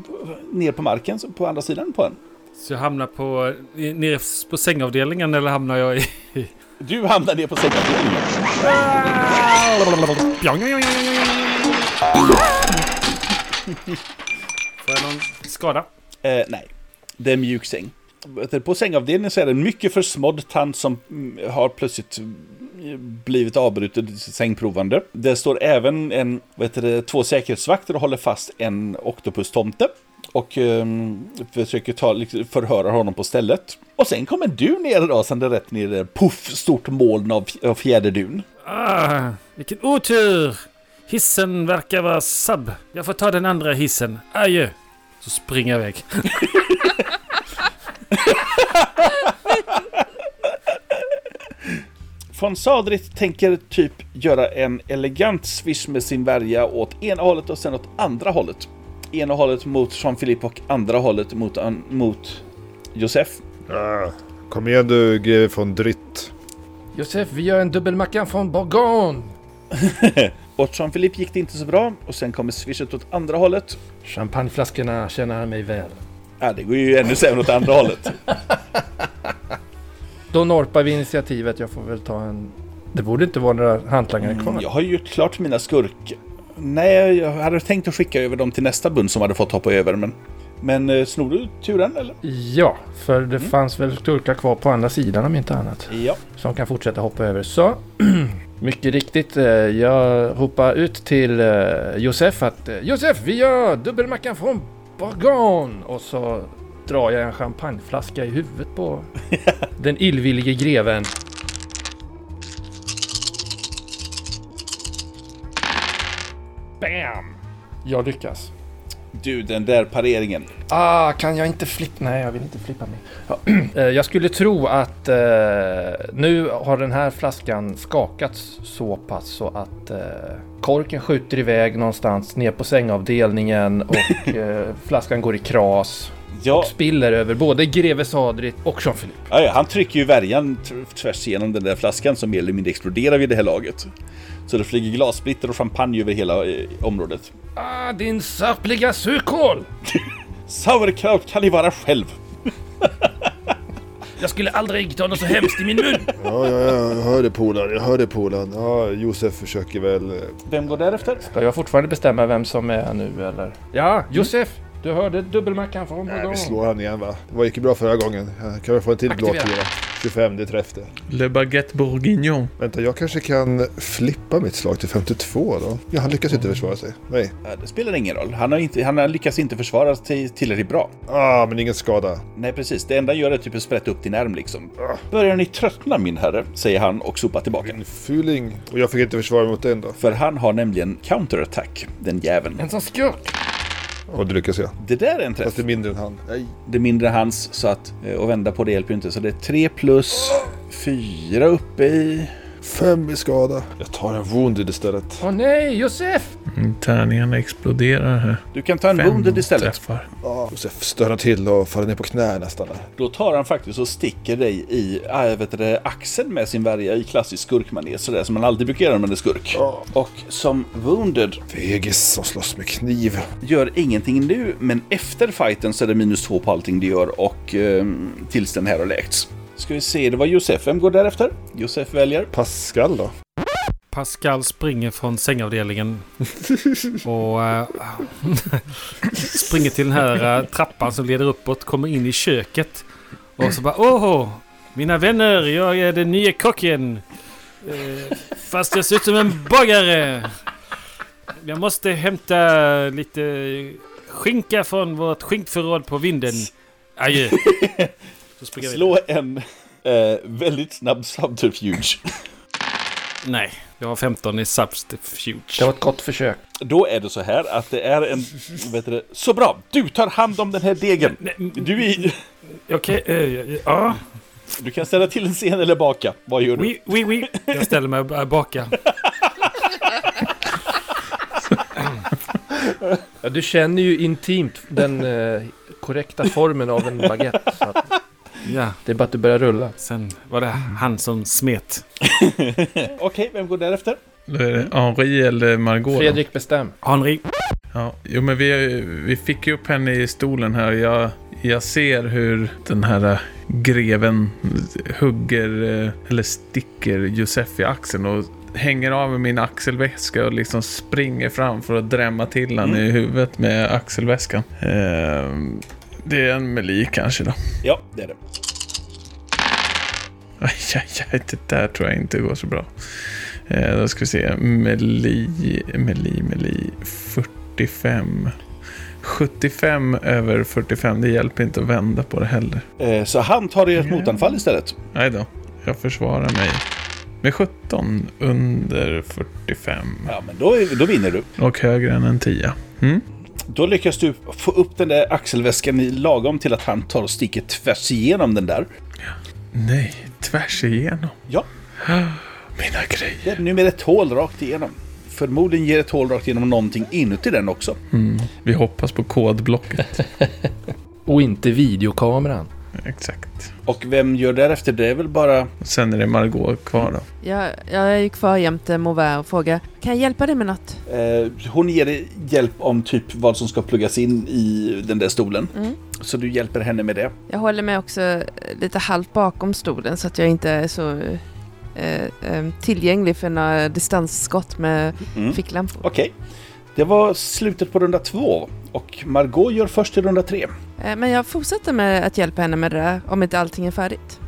[SPEAKER 3] ner på marken så på andra sidan på en.
[SPEAKER 5] Så jag hamnar på... i- Nere på sängavdelningen eller hamnar jag i...
[SPEAKER 3] Du hamnar ner på sängavdelningen.
[SPEAKER 5] Pjong, pjong, pjong, pjong, pjong. Får jag någon skada?
[SPEAKER 3] Eh, nej, det är en mjuk säng. Vet du, På sängavdelningen så är det en mycket försmådd tant som mm, har plötsligt mm, blivit avbruten i sitt sängprovande. Det står även en, vet du, det, två säkerhetsvakter och håller fast en Octopus-tomte. Och um, försöker ta, liksom, förhöra honom på stället. Och sen kommer du ner rasande rätt ner i det puff, stort moln av, av fjäderdun.
[SPEAKER 5] Ah, vilken otur! Hissen verkar vara sub. Jag får ta den andra hissen. Adjö! Så springer jag iväg.
[SPEAKER 3] Von Sadrit tänker typ göra en elegant swish med sin värja åt ena hållet och sen åt andra hållet. Ena hållet mot Jean-Philippe och andra hållet mot, an, mot Josef.
[SPEAKER 2] Ah, kom igen du, grev från Dritt.
[SPEAKER 7] Josef, vi gör en dubbelmacka från Bourgogne!
[SPEAKER 3] Åt Jean-Philippe gick det inte så bra och sen kommer swishet åt andra hållet.
[SPEAKER 7] Champagneflaskorna känner han mig väl.
[SPEAKER 3] Ja, det går ju ännu sämre åt andra hållet.
[SPEAKER 7] Då norpar vi initiativet. Jag får väl ta en... Det borde inte vara några hantlangare kvar.
[SPEAKER 3] Jag har ju gjort klart mina skurk... Nej, jag hade tänkt att skicka över dem till nästa bund som hade fått hoppa över, men... Men eh, snor du turen eller?
[SPEAKER 7] Ja, för det fanns väl skurkar kvar på andra sidan om inte annat.
[SPEAKER 3] Ja.
[SPEAKER 7] Som kan fortsätta hoppa över. Så, mycket riktigt. eh, Jag ropar ut till eh, Josef att eh, Josef, vi gör dubbelmackan från Bourgogne! Och så drar jag en champagneflaska i huvudet på den illvillige greven. Bam! Jag lyckas.
[SPEAKER 3] Du, den där pareringen.
[SPEAKER 7] Ah, kan jag inte flippa? Nej, jag vill inte flippa mer. Ja. Eh, jag skulle tro att eh, nu har den här flaskan skakats så pass så att eh, korken skjuter iväg någonstans ner på sängavdelningen och eh, flaskan går i kras.
[SPEAKER 3] Ja,
[SPEAKER 7] Spiller över både greve Sadrit och Jean-Philippe.
[SPEAKER 3] Ja, ja, han trycker ju värjan tr- tvärs igenom den där flaskan som mer eller mindre exploderar vid det här laget. Så det flyger glassplitter och champagne över hela eh, området.
[SPEAKER 7] Ah, din sapliga surkål!
[SPEAKER 3] Sauerkraut kan ni vara själv!
[SPEAKER 7] Jag skulle aldrig ta något så hemskt i min mun!
[SPEAKER 2] Ja, ja, ja, jag hörde polaren, jag hörde polaren. Ja, Josef försöker väl... eh,
[SPEAKER 3] Vem går därefter?
[SPEAKER 7] Ska jag fortfarande bestämma vem som är nu eller? Mm. Ja, Josef! Du hörde dubbelmackan från
[SPEAKER 2] Nej,
[SPEAKER 7] Bourgogne.
[SPEAKER 2] vi slår han igen va? Det var- gick ju bra förra gången. Ja, Kan vi få en till blå
[SPEAKER 7] Aktivera.
[SPEAKER 2] fyra? 25, det är träff det.
[SPEAKER 6] Le baguette bourguignon.
[SPEAKER 2] Vänta, jag kanske kan flippa mitt slag till 52 då? Ja, han lyckas inte försvara sig. Nej.
[SPEAKER 3] Ja, det spelar ingen roll. Han har, inte, han har lyckats inte försvara sig tillräckligt bra.
[SPEAKER 2] Ah, men ingen skada.
[SPEAKER 3] Nej, precis. Det enda han gör är typ att sprätta upp din arm liksom. Börjar ni tröttna min herre? Säger han och sopar tillbaka.
[SPEAKER 2] En fuling. Och jag fick inte försvara mig mot den då.
[SPEAKER 3] För han har nämligen counterattack, den jäveln.
[SPEAKER 7] En sån skurk!
[SPEAKER 2] Och det lyckas jag.
[SPEAKER 3] Det där är en träff.
[SPEAKER 2] Fast det är mindre än han. Nej.
[SPEAKER 3] Det är mindre hans, så att... eh, Och vända på det hjälper ju inte. Så det är 3 plus 4 uppe i...
[SPEAKER 2] Fem i skada. Jag tar en wounded istället.
[SPEAKER 7] Åh nej, Josef!
[SPEAKER 6] Mm, Tärningarna exploderar här.
[SPEAKER 3] Du kan ta en
[SPEAKER 6] Fem
[SPEAKER 3] wounded istället.
[SPEAKER 6] träffar.
[SPEAKER 2] Ah, Josef stönar till och faller ner på knä nästan. där.
[SPEAKER 3] Då tar han faktiskt och sticker dig i äh, vet du, det, axeln med sin värja i klassisk skurkmanér, sådär som man alltid brukar göra med en skurk.
[SPEAKER 2] Ja.
[SPEAKER 3] Och som wounded
[SPEAKER 2] Vegis som slåss med kniv.
[SPEAKER 3] gör ingenting nu, men efter fighten så är det minus två på allting du gör och ehm, tills den här har läkts. Ska vi se, det var Josef. Vem går därefter? Josef väljer.
[SPEAKER 2] Pascal då?
[SPEAKER 5] Pascal springer från sängavdelningen och eh, springer till den här eh, trappan som leder uppåt, kommer in i köket och så bara åh, Mina vänner, jag är den nya kocken. Eh, Fast jag ser ut som en bagare. Jag måste hämta lite skinka från vårt skinkförråd på vinden. Adjö. Så springer jag vidare.
[SPEAKER 3] Slå en eh, väldigt snabb subterfuge.
[SPEAKER 5] Nej, jag har 15 i substitute.
[SPEAKER 7] Det var ett gott försök.
[SPEAKER 3] Då är det så här att det är en... Vet du, det, så bra! Du tar hand om den här degen.
[SPEAKER 5] Nej, m-
[SPEAKER 3] Du, är,
[SPEAKER 5] Okej, eh, ja.
[SPEAKER 3] du kan ställa till en scen eller baka. Vad gör du?
[SPEAKER 5] Oui, oui, oui. Jag ställer mig och börjar baka.
[SPEAKER 4] Ja, du känner ju intimt den eh, korrekta formen av en baguette. Så att
[SPEAKER 5] Ja,
[SPEAKER 4] det är bara att du börjar rulla.
[SPEAKER 5] sen var det han som smet.
[SPEAKER 3] Okej, vem går därefter?
[SPEAKER 6] Då är det Henri eller Margot. då.
[SPEAKER 4] Fredrik bestäm.
[SPEAKER 5] Henri.
[SPEAKER 6] Ja, jo men vi, vi fick ju upp henne i stolen här. Jag, jag ser hur den här eh, greven hugger, eh, eller sticker Josef i axeln och hänger av med min axelväska och liksom springer fram för att drämma till honom i huvudet med axelväskan. Ehm, det är en meli kanske då.
[SPEAKER 3] Ja, det är det.
[SPEAKER 6] Aj, aj, aj, det där tror jag inte går så bra. Eh, då ska vi se. Meli, Meli, Meli. 45. 75 över 45. Det hjälper inte att vända på det heller.
[SPEAKER 3] Eh, så han tar ert motanfall istället.
[SPEAKER 6] Nej då. Jag försvarar mig. Med 17 under 45.
[SPEAKER 3] Ja, men då, är- då vinner du.
[SPEAKER 6] Och högre än en 10. Mm?
[SPEAKER 3] Då lyckas du få upp den där axelväskan i lagom till att han tar och sticker tvärs igenom den där.
[SPEAKER 6] Nej, tvärs igenom.
[SPEAKER 3] Ja,
[SPEAKER 6] Mina grejer.
[SPEAKER 3] det är numera ett hål rakt igenom. Förmodligen ger ett hål rakt igenom någonting inuti den också.
[SPEAKER 6] Vi hoppas på kodblocket.
[SPEAKER 4] Och inte videokameran.
[SPEAKER 6] Exakt.
[SPEAKER 3] Och vem gör därefter? Det är väl bara...
[SPEAKER 6] Sen är det Margot kvar då.
[SPEAKER 1] Jag, jag är ju kvar jämte Mauvais och frågar Kan jag hjälpa dig med något?
[SPEAKER 3] Eh, hon ger dig hjälp om typ vad som ska pluggas in i den där stolen.
[SPEAKER 1] Mm.
[SPEAKER 3] Så du hjälper henne med det.
[SPEAKER 1] Jag håller mig också eh, lite halvt bakom stolen så att jag inte är så eh, eh, tillgänglig för några distansskott med
[SPEAKER 3] Mm.
[SPEAKER 1] ficklampor.
[SPEAKER 3] Okej. Det var slutet på runda två. Och Margot gör först i runda tre.
[SPEAKER 1] Eh, Men jag fortsätter med att hjälpa henne med det där om inte allting är färdigt.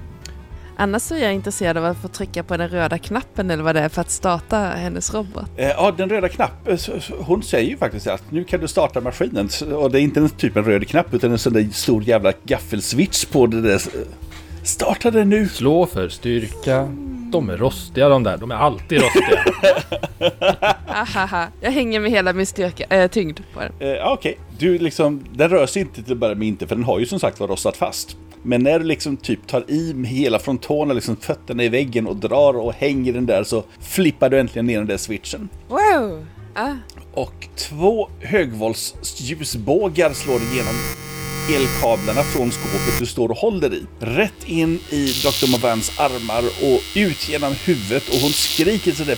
[SPEAKER 1] Annars så är jag intresserad av att få trycka på den röda knappen eller vad det är för att starta hennes robot.
[SPEAKER 3] Eh, Ja, den röda knappen. Hon säger ju faktiskt att nu kan du starta maskinen. Så- Och det är inte en typ en röd knapp utan en sån där stor jävla gaffelsvits på det där. eh, Starta den nu!
[SPEAKER 7] Slå för styrka. De är rostiga de där. De är alltid rostiga.
[SPEAKER 1] Ahaha, jag hänger med hela min styrka, eh, tyngd på den.
[SPEAKER 3] Eh, ja, Okej, du liksom, den rör sig inte till att börja med inte för den har ju som sagt var rostat fast. Men när du liksom typ tar i med hela från tårna, liksom fötterna i väggen och drar och hänger den där så flippar du äntligen ner den där switchen.
[SPEAKER 1] Wow! Ah,
[SPEAKER 3] Och två högvoltsljusbågar slår igenom elkablarna från skåpet du står och håller i. Rätt in i Dr. Movans armar och ut genom huvudet och hon skriker sådär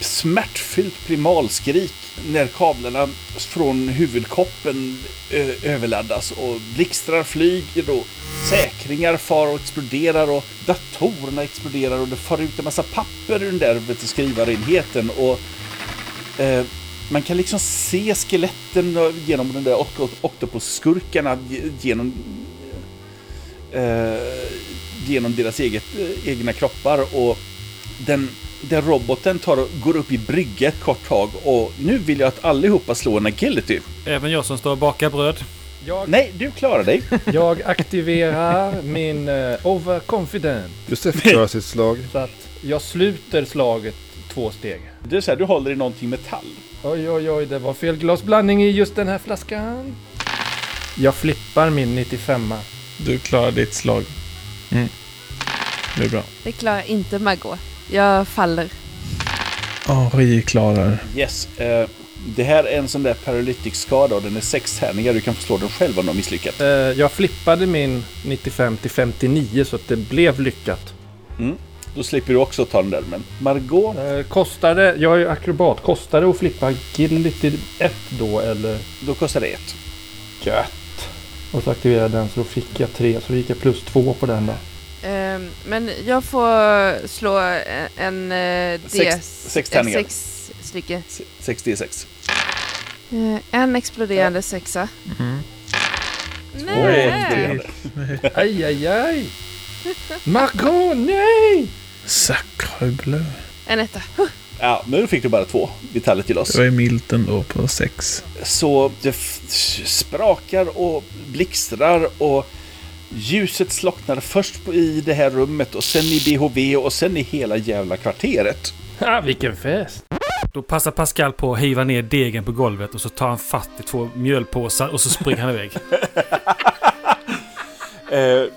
[SPEAKER 3] smärtfyllt primalskrik när kablarna från huvudkoppen ö, överladdas och blixtrar flyger och säkringar far och exploderar och datorerna exploderar och det far ut en massa papper ur den där vet du, skrivarenheten och Eh, man kan liksom se skeletten genom den där okt- octopusskurkarna ge- genom eh, genom deras eget, eh, egna kroppar och den, den roboten tar och går upp i brygga ett kort tag och nu vill jag att allihopa slår en agility.
[SPEAKER 5] Även jag som står och bakar bröd.
[SPEAKER 7] Jag,
[SPEAKER 3] Nej, du klarar dig.
[SPEAKER 7] jag aktiverar min eh, overconfident.
[SPEAKER 2] Josef klarar sitt slag.
[SPEAKER 7] Så att jag sluter slaget två steg.
[SPEAKER 3] Det är så här, du håller i någonting metall.
[SPEAKER 7] Oj, oj, oj, det var fel glasblandning i just den här flaskan. Jag flippar min 95
[SPEAKER 6] Du klarar ditt slag. Mm. Det är bra.
[SPEAKER 1] det klarar inte Margot. Jag faller.
[SPEAKER 6] Henri klarar.
[SPEAKER 3] Yes. Eh, det här är en sån där paralytic-skada och den är sex tärningar. Du kan få slå den själv om du har misslyckats.
[SPEAKER 7] Eh, Jag flippade min 95 till 59 så att det blev lyckat.
[SPEAKER 3] Då slipper du också ta den där. Men Margot
[SPEAKER 7] Eh, Kostade, jag är ju akrobat, kostade det att flippa agility 1 då eller?
[SPEAKER 3] Då kostar det ett.
[SPEAKER 7] Gött. Och så aktiverade jag den så då fick jag 3 så då gick jag plus 2 på den då.
[SPEAKER 1] Ehm, men jag får slå en, en eh,
[SPEAKER 3] Sex-
[SPEAKER 1] D...
[SPEAKER 3] sex tärningar.
[SPEAKER 1] eh, Sex stycken.
[SPEAKER 3] Se- 66.
[SPEAKER 1] Eh, en exploderande sexa.
[SPEAKER 6] Mm.
[SPEAKER 1] Nej!
[SPEAKER 3] exploderande.
[SPEAKER 7] Aj, aj, aj. Margot, nej!
[SPEAKER 6] Sacre bleu.
[SPEAKER 1] En etta.
[SPEAKER 3] Ja, nu fick du bara två vitaler till oss.
[SPEAKER 6] Det var ju milt ändå på sex.
[SPEAKER 3] Så det f- sprakar och blixtrar och ljuset slocknar först på- i det här rummet och sen i BHV och sen i hela jävla kvarteret.
[SPEAKER 7] Ha, Ah, vilken fest!
[SPEAKER 5] Då passar Pascal på att hiva ner degen på golvet och så tar han fatt i två mjölpåsar och så springer han iväg.
[SPEAKER 3] Eh,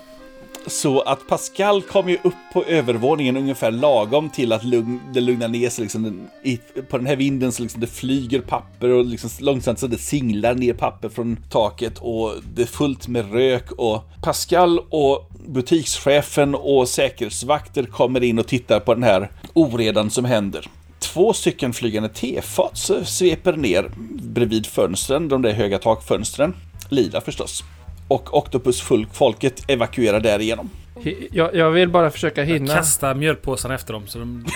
[SPEAKER 3] så att Pascal kom ju upp på övervåningen ungefär lagom till att lugn, det lugnar ner sig. Liksom, den, i, på den här vinden så liksom det flyger papper och liksom långsamt så det singlar ner papper från taket och det är fullt med rök och Pascal och butikschefen och säkerhetsvakter kommer in och tittar på den här oredan som händer. Två stycken flygande tefat s- sveper ner bredvid fönstren, de där höga takfönstren. Lila förstås och Octopus-folket evakuerar därigenom.
[SPEAKER 7] Hi- Jag, jag vill bara försöka hinna.
[SPEAKER 5] Kasta mjölpåsarna efter dem så de...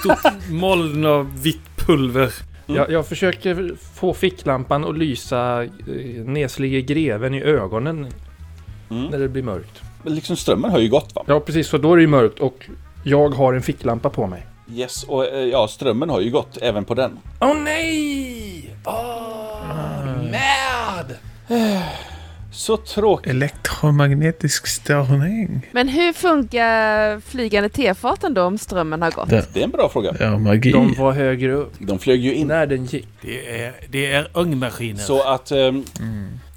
[SPEAKER 5] Stort moln av vitt pulver.
[SPEAKER 7] Jag, jag försöker få ficklampan att lysa eh, neslige greven i ögonen när det blir mörkt.
[SPEAKER 3] Men liksom strömmen har ju gått va?
[SPEAKER 7] Ja, precis. Så då är det ju mörkt och jag har en ficklampa på mig.
[SPEAKER 3] Yes, och eh, ja, strömmen har ju gått även på den.
[SPEAKER 7] Åh oh, nej! Ah. Åh, mad!
[SPEAKER 3] Så tråkigt.
[SPEAKER 6] Elektromagnetisk störning.
[SPEAKER 1] Men hur funkar flygande tefaten då om strömmen har gått?
[SPEAKER 6] Det-
[SPEAKER 3] Det är en bra fråga.
[SPEAKER 6] Ja, magi.
[SPEAKER 7] De var högre upp
[SPEAKER 3] De flög ju in.
[SPEAKER 7] när den gick.
[SPEAKER 5] Det är, det är ångmaskiner.
[SPEAKER 3] Så att ehm,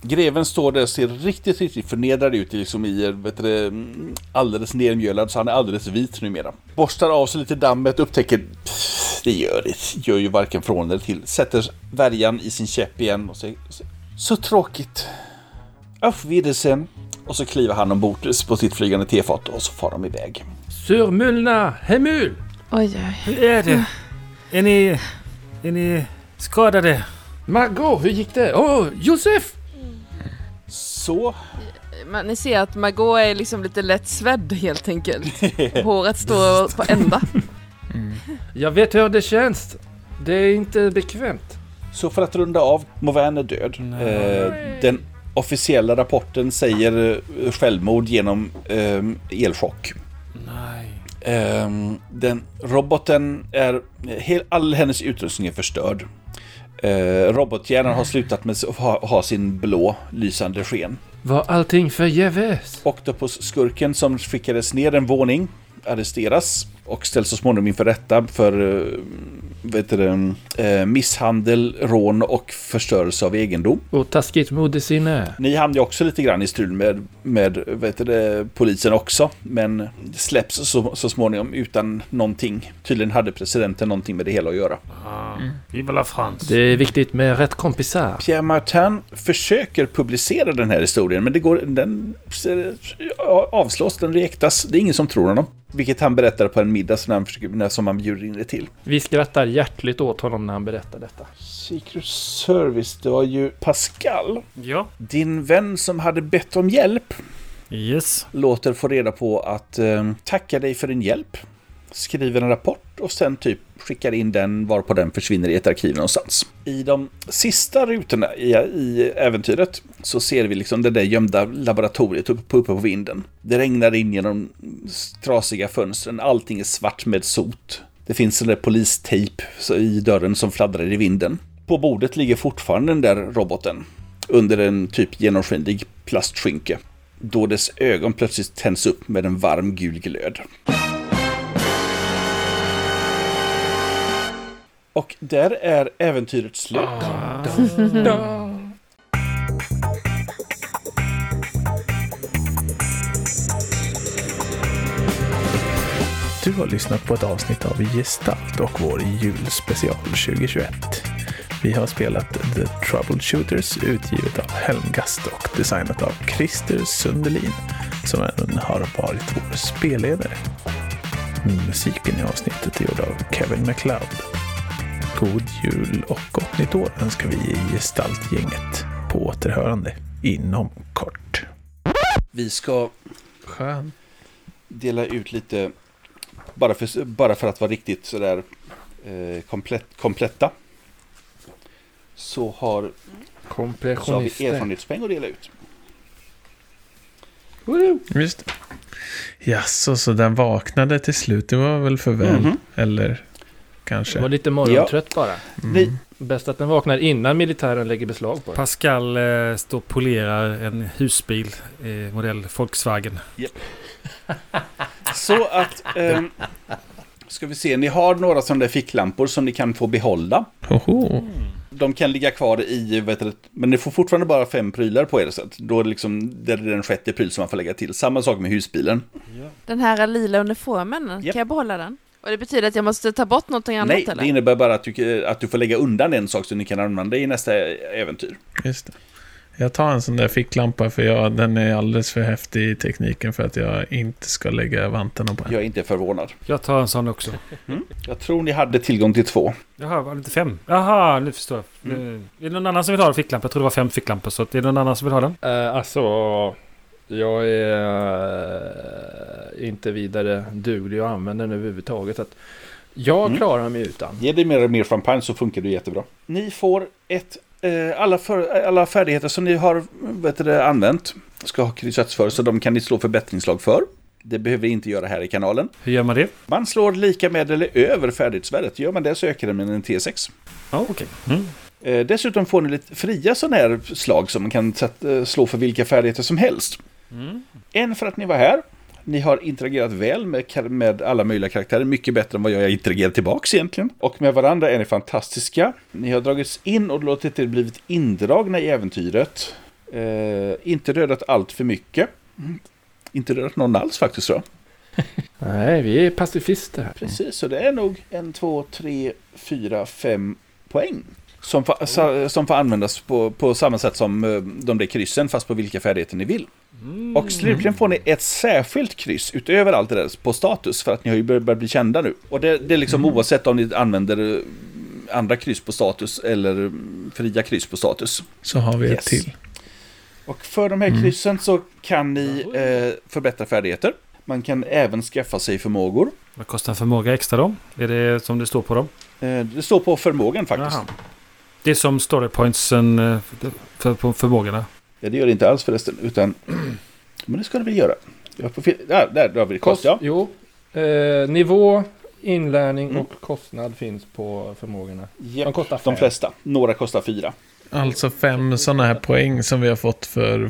[SPEAKER 3] greven står där och ser riktigt, riktigt förnedrad ut liksom i, eh, vet du, det, mm, alldeles nermjölad så han är alldeles vit numera. Borstar av sig lite dammet, upptäcker "Pff, det gör det, gör ju varken från eller till. Sätter värjan i sin käpp igen och säger "Så- så tråkigt. Auf Wiedersehen. Och så kliver han ombord på sitt flygande tefat och så far de iväg.
[SPEAKER 7] Surmulna hemul!
[SPEAKER 1] Oj, oj.
[SPEAKER 5] Hur är det? Är ni... Är ni skadade?
[SPEAKER 7] Margot, hur gick det? Åh, Josef!
[SPEAKER 3] Så
[SPEAKER 1] Men ni ser att Margot är liksom lite lätt svedd helt enkelt. Håret står på ända.
[SPEAKER 7] Jag vet hur det känns. Det är inte bekvämt.
[SPEAKER 3] Så för att runda av, Movan är död. Eh, den officiella rapporten säger eh, självmord genom eh, elchock.
[SPEAKER 5] Nej.
[SPEAKER 3] Eh, den roboten är... Hel, all hennes utrustning är förstörd. Eh, robothjärnan har slutat med att ha, ha sin blå lysande sken.
[SPEAKER 7] Var allting förgäves?
[SPEAKER 3] Octopus-skurken som skickades ner en våning arresteras och ställs så småningom inför rätta för eh, vet du, det, eh, misshandel, rån och förstörelse av egendom.
[SPEAKER 7] Och taskigt modesinne.
[SPEAKER 3] Ni hamnar ju också lite grann i strul med, med vet du, det, polisen också, men släpps så, så småningom utan någonting. Tydligen hade presidenten någonting med det hela att göra.
[SPEAKER 5] Vive la France.
[SPEAKER 7] Det är viktigt med rätt kompisar.
[SPEAKER 3] Pierre Martin försöker publicera den här historien, men det går, den avslås, den rejektas. Det är ingen som tror honom. Vilket han berättar på en middag som han, försöker, när- som han bjuder in det till.
[SPEAKER 7] Vi skrattar hjärtligt åt honom när han berättar detta.
[SPEAKER 3] Secret Service, det var ju Pascal.
[SPEAKER 5] Ja.
[SPEAKER 3] Din vän som hade bett om hjälp
[SPEAKER 5] Yes.
[SPEAKER 3] låter få reda på att eh, tacka dig för din hjälp, skriver en rapport och sen typ skickar in den varpå den försvinner i ett arkiv någonstans. I de sista rutorna i, i äventyret så ser vi liksom det där gömda laboratoriet uppe på, uppe på vinden. Det regnar in genom trasiga fönstren, allting är svart med sot. Det finns en där polistejp så- i dörren som fladdrar i vinden. På bordet ligger fortfarande den där roboten under en typ genomskinlig plastskynke då dess ögon plötsligt tänds upp med en varm gul glöd. Och där är äventyret slut.
[SPEAKER 8] Du har lyssnat på ett avsnitt av Gestalt och vår julspecial 2021. Vi har spelat The Troubleshooters utgivet av Helmgast och designat av Christer Sundelin som även har varit vår spelledare. Musiken i avsnittet är gjord av Kevin MacLeod. God jul och gott nytt år önskar vi i Gestaltgänget. På återhörande inom kort.
[SPEAKER 3] Vi ska
[SPEAKER 6] Skön.
[SPEAKER 3] dela ut lite, bara för, bara för att vara riktigt sådär eh, komplett, kompletta, så har, så har vi
[SPEAKER 7] Kompressionister.
[SPEAKER 3] erfarenhetspeng att dela ut.
[SPEAKER 6] Just Jaså, så den vaknade till slut. Det var väl för väl?
[SPEAKER 3] Mhm.
[SPEAKER 6] Eller
[SPEAKER 7] Jag var
[SPEAKER 6] kanske.
[SPEAKER 7] lite morgontrött bara.
[SPEAKER 3] Ni-
[SPEAKER 7] Bäst att den vaknar innan militären lägger beslag på den.
[SPEAKER 5] Pascal eh, står och polerar en husbil, eh, modell Volkswagen.
[SPEAKER 3] Så att... ehm, ska vi se, ni har några sådana där ficklampor som ni kan få behålla.
[SPEAKER 6] Hoho.
[SPEAKER 3] De kan ligga kvar i, vet du, men ni får fortfarande bara fem prylar på er. Så att då är det liksom, det är den sjätte pryl som man får lägga till. Samma sak med husbilen.
[SPEAKER 1] Den här lila uniformen,
[SPEAKER 3] Japp.
[SPEAKER 1] kan jag behålla den? Och det betyder att jag måste ta bort någonting annat
[SPEAKER 3] Nej,
[SPEAKER 1] eller?
[SPEAKER 3] det innebär bara att du, att du får lägga undan en sak så ni kan använda det i nästa äventyr.
[SPEAKER 6] Just det. Jag tar en sån där ficklampa för jag, den är alldeles för häftig i tekniken för att jag inte ska lägga vantarna på den.
[SPEAKER 3] Jag är inte förvånad.
[SPEAKER 5] Jag tar en sån också.
[SPEAKER 3] Jag tror ni hade tillgång till två.
[SPEAKER 5] Jaha, var det inte fem? Jaha, nu förstår jag. Eh, Är det någon annan som vill ha en ficklampa? Jag tror det var fem ficklampor. Så att är det någon annan som vill ha den?
[SPEAKER 7] Eh, alltså, jag är eh, inte vidare duglig att använda den överhuvudtaget. så Att jag
[SPEAKER 3] Mm.
[SPEAKER 7] klarar mig utan.
[SPEAKER 3] Ge dig mer och mer champagne så funkar det jättebra. Ni får ett... Eh, alla, för, alla färdigheter som ni har vet du, det, använt ska ha kryssats för, så de kan ni slå förbättringslag för. Det behöver vi inte göra här i kanalen.
[SPEAKER 5] Hur gör man det?
[SPEAKER 3] Man slår lika med eller över färdighetsvärdet. Gör man det så ökar det med en T6.
[SPEAKER 5] Ja, okej. Mm.
[SPEAKER 3] Eh, dessutom får ni lite fria sådana här slag som man kan sätt- eh, slå för vilka färdigheter som helst.
[SPEAKER 5] Mm.
[SPEAKER 3] En för att ni var här. Ni har interagerat väl med, kar- med alla möjliga karaktärer, mycket bättre än vad jag interagerar tillbaks egentligen. Och med varandra är ni fantastiska. Ni har dragits in och låtit er blivit indragna i äventyret. Eh, inte rödat allt för mycket. Mm. Inte rödat någon alls faktiskt tror jag.
[SPEAKER 7] Nej, vi är pacifister här.
[SPEAKER 3] Precis, så det är nog en, två, tre, fyra, fem poäng. Som, fa- sa- som får användas på, på samma sätt som eh, de där kryssen, fast på vilka färdigheter ni vill. Och slutligen får ni ett särskilt kryss utöver allt det där på status, för att ni har ju bör- börjat bli kända nu. Och det, det är liksom oavsett om ni använder eh, andra kryss på status eller mm, fria kryss på status.
[SPEAKER 6] Så har vi
[SPEAKER 3] Yes.
[SPEAKER 6] ett till.
[SPEAKER 3] Och för de här kryssen så kan ni eh, förbättra färdigheter. Man kan även skaffa sig förmågor.
[SPEAKER 5] Vad kostar en förmåga extra då? Är det som det står på dem?
[SPEAKER 3] Eh, det står på förmågan faktiskt.
[SPEAKER 5] Jaha. Det är som story pointsen eh, för, för, på förmågorna.
[SPEAKER 3] Ja, det gör det inte alls förresten, utan... Men det ska det väl göra. Jag får fel... där, där, där har vi det. kost,
[SPEAKER 7] Kost,
[SPEAKER 3] ja.
[SPEAKER 7] jo. Eh, nivå, inlärning
[SPEAKER 3] Mm.
[SPEAKER 7] och kostnad finns på förmågorna.
[SPEAKER 3] ja.
[SPEAKER 7] De kostar fem.
[SPEAKER 3] De flesta. Några kostar fyra.
[SPEAKER 6] Alltså fem sådana här poäng som vi har fått för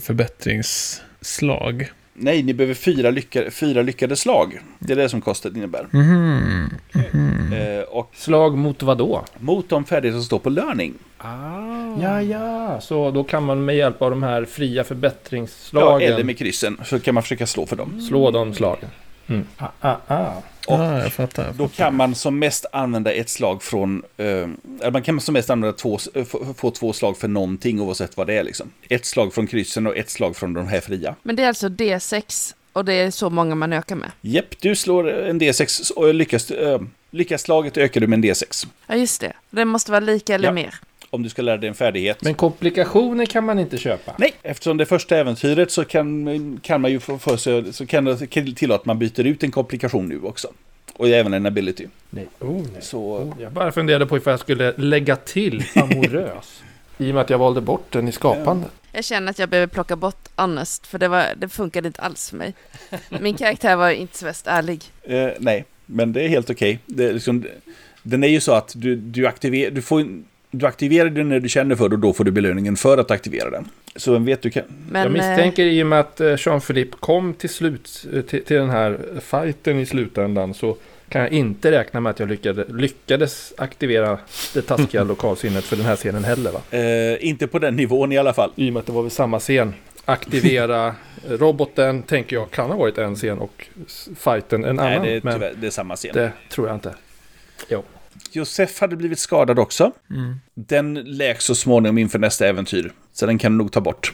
[SPEAKER 6] förbättringsslag.
[SPEAKER 3] Nej, ni behöver fyra, lycka, fyra lyckade slag. Det är det som kostet innebär.
[SPEAKER 6] Mhm. Mhm.
[SPEAKER 3] Eh, och
[SPEAKER 7] Slag mot vad då?
[SPEAKER 3] mot de färdigheter som står på learning.
[SPEAKER 5] Ah.
[SPEAKER 7] Ja, ja, så då kan man med hjälp av de här fria
[SPEAKER 3] Ja,
[SPEAKER 7] förbättringsslagen
[SPEAKER 3] eller med kryssen, så kan man försöka slå för dem.
[SPEAKER 7] slå de slagen. Mm. Ah, ah, ah.
[SPEAKER 3] Och
[SPEAKER 6] Ja, jag fattar.
[SPEAKER 3] då kan man som mest använda ett slag från... Eh, eller man kan som mest använda två, eh, få, få två slag för någonting oavsett vad det är liksom. Ett slag från kryssen och ett slag från de här fria.
[SPEAKER 1] Men det är alltså D6 och det är så många man ökar med.
[SPEAKER 3] Jepp, du slår en D6 och lyckas, äh, lyckas slaget ökar du med en D6.
[SPEAKER 1] Ja just det, den måste vara lika eller
[SPEAKER 3] Ja.
[SPEAKER 1] mer.
[SPEAKER 3] Om du ska lära dig en färdighet.
[SPEAKER 7] Men komplikationer kan man inte köpa.
[SPEAKER 3] Nej, eftersom det är första äventyret så kan, kan man ju få för sig, så kan det tillåta att man byter ut en komplikation nu också. Och även en ability.
[SPEAKER 7] Nej. Oh, nej.
[SPEAKER 3] Så
[SPEAKER 7] Jag bara funderade på ifall jag skulle lägga till amorös. I och med att jag valde bort den i skapandet.
[SPEAKER 1] Jag känner att jag behöver plocka bort honest, för det, var, det funkade inte alls för mig. Min karaktär var inte så värst ärlig.
[SPEAKER 3] eh, nej, men det är helt okej. Det är liksom, den är ju så att du, du, aktiver, du, får, du aktiverar den när du känner för det och då får du belöningen för att aktivera den. Så vem vet, du kan...
[SPEAKER 1] Men, eh,
[SPEAKER 7] jag misstänker i och med att eh, Jean-Philippe kom till slut eh, till, till den här fighten i slutändan så kan jag inte räkna med att jag lyckade, lyckades aktivera det taskiga lokalsinnet för den här scenen heller va?
[SPEAKER 3] Eh, inte på den nivån i alla fall.
[SPEAKER 7] I och med att det var väl samma scen. Aktivera eh, roboten, tänker jag, kan ha varit en scen och s- fighten en annan.
[SPEAKER 3] nej, det är,
[SPEAKER 7] men
[SPEAKER 3] tyvärr, det är samma scen.
[SPEAKER 7] det tror jag inte.
[SPEAKER 3] Josef hade blivit skadad också.
[SPEAKER 6] Mm.
[SPEAKER 3] Den läks så småningom inför nästa äventyr. Så den kan du nog ta bort.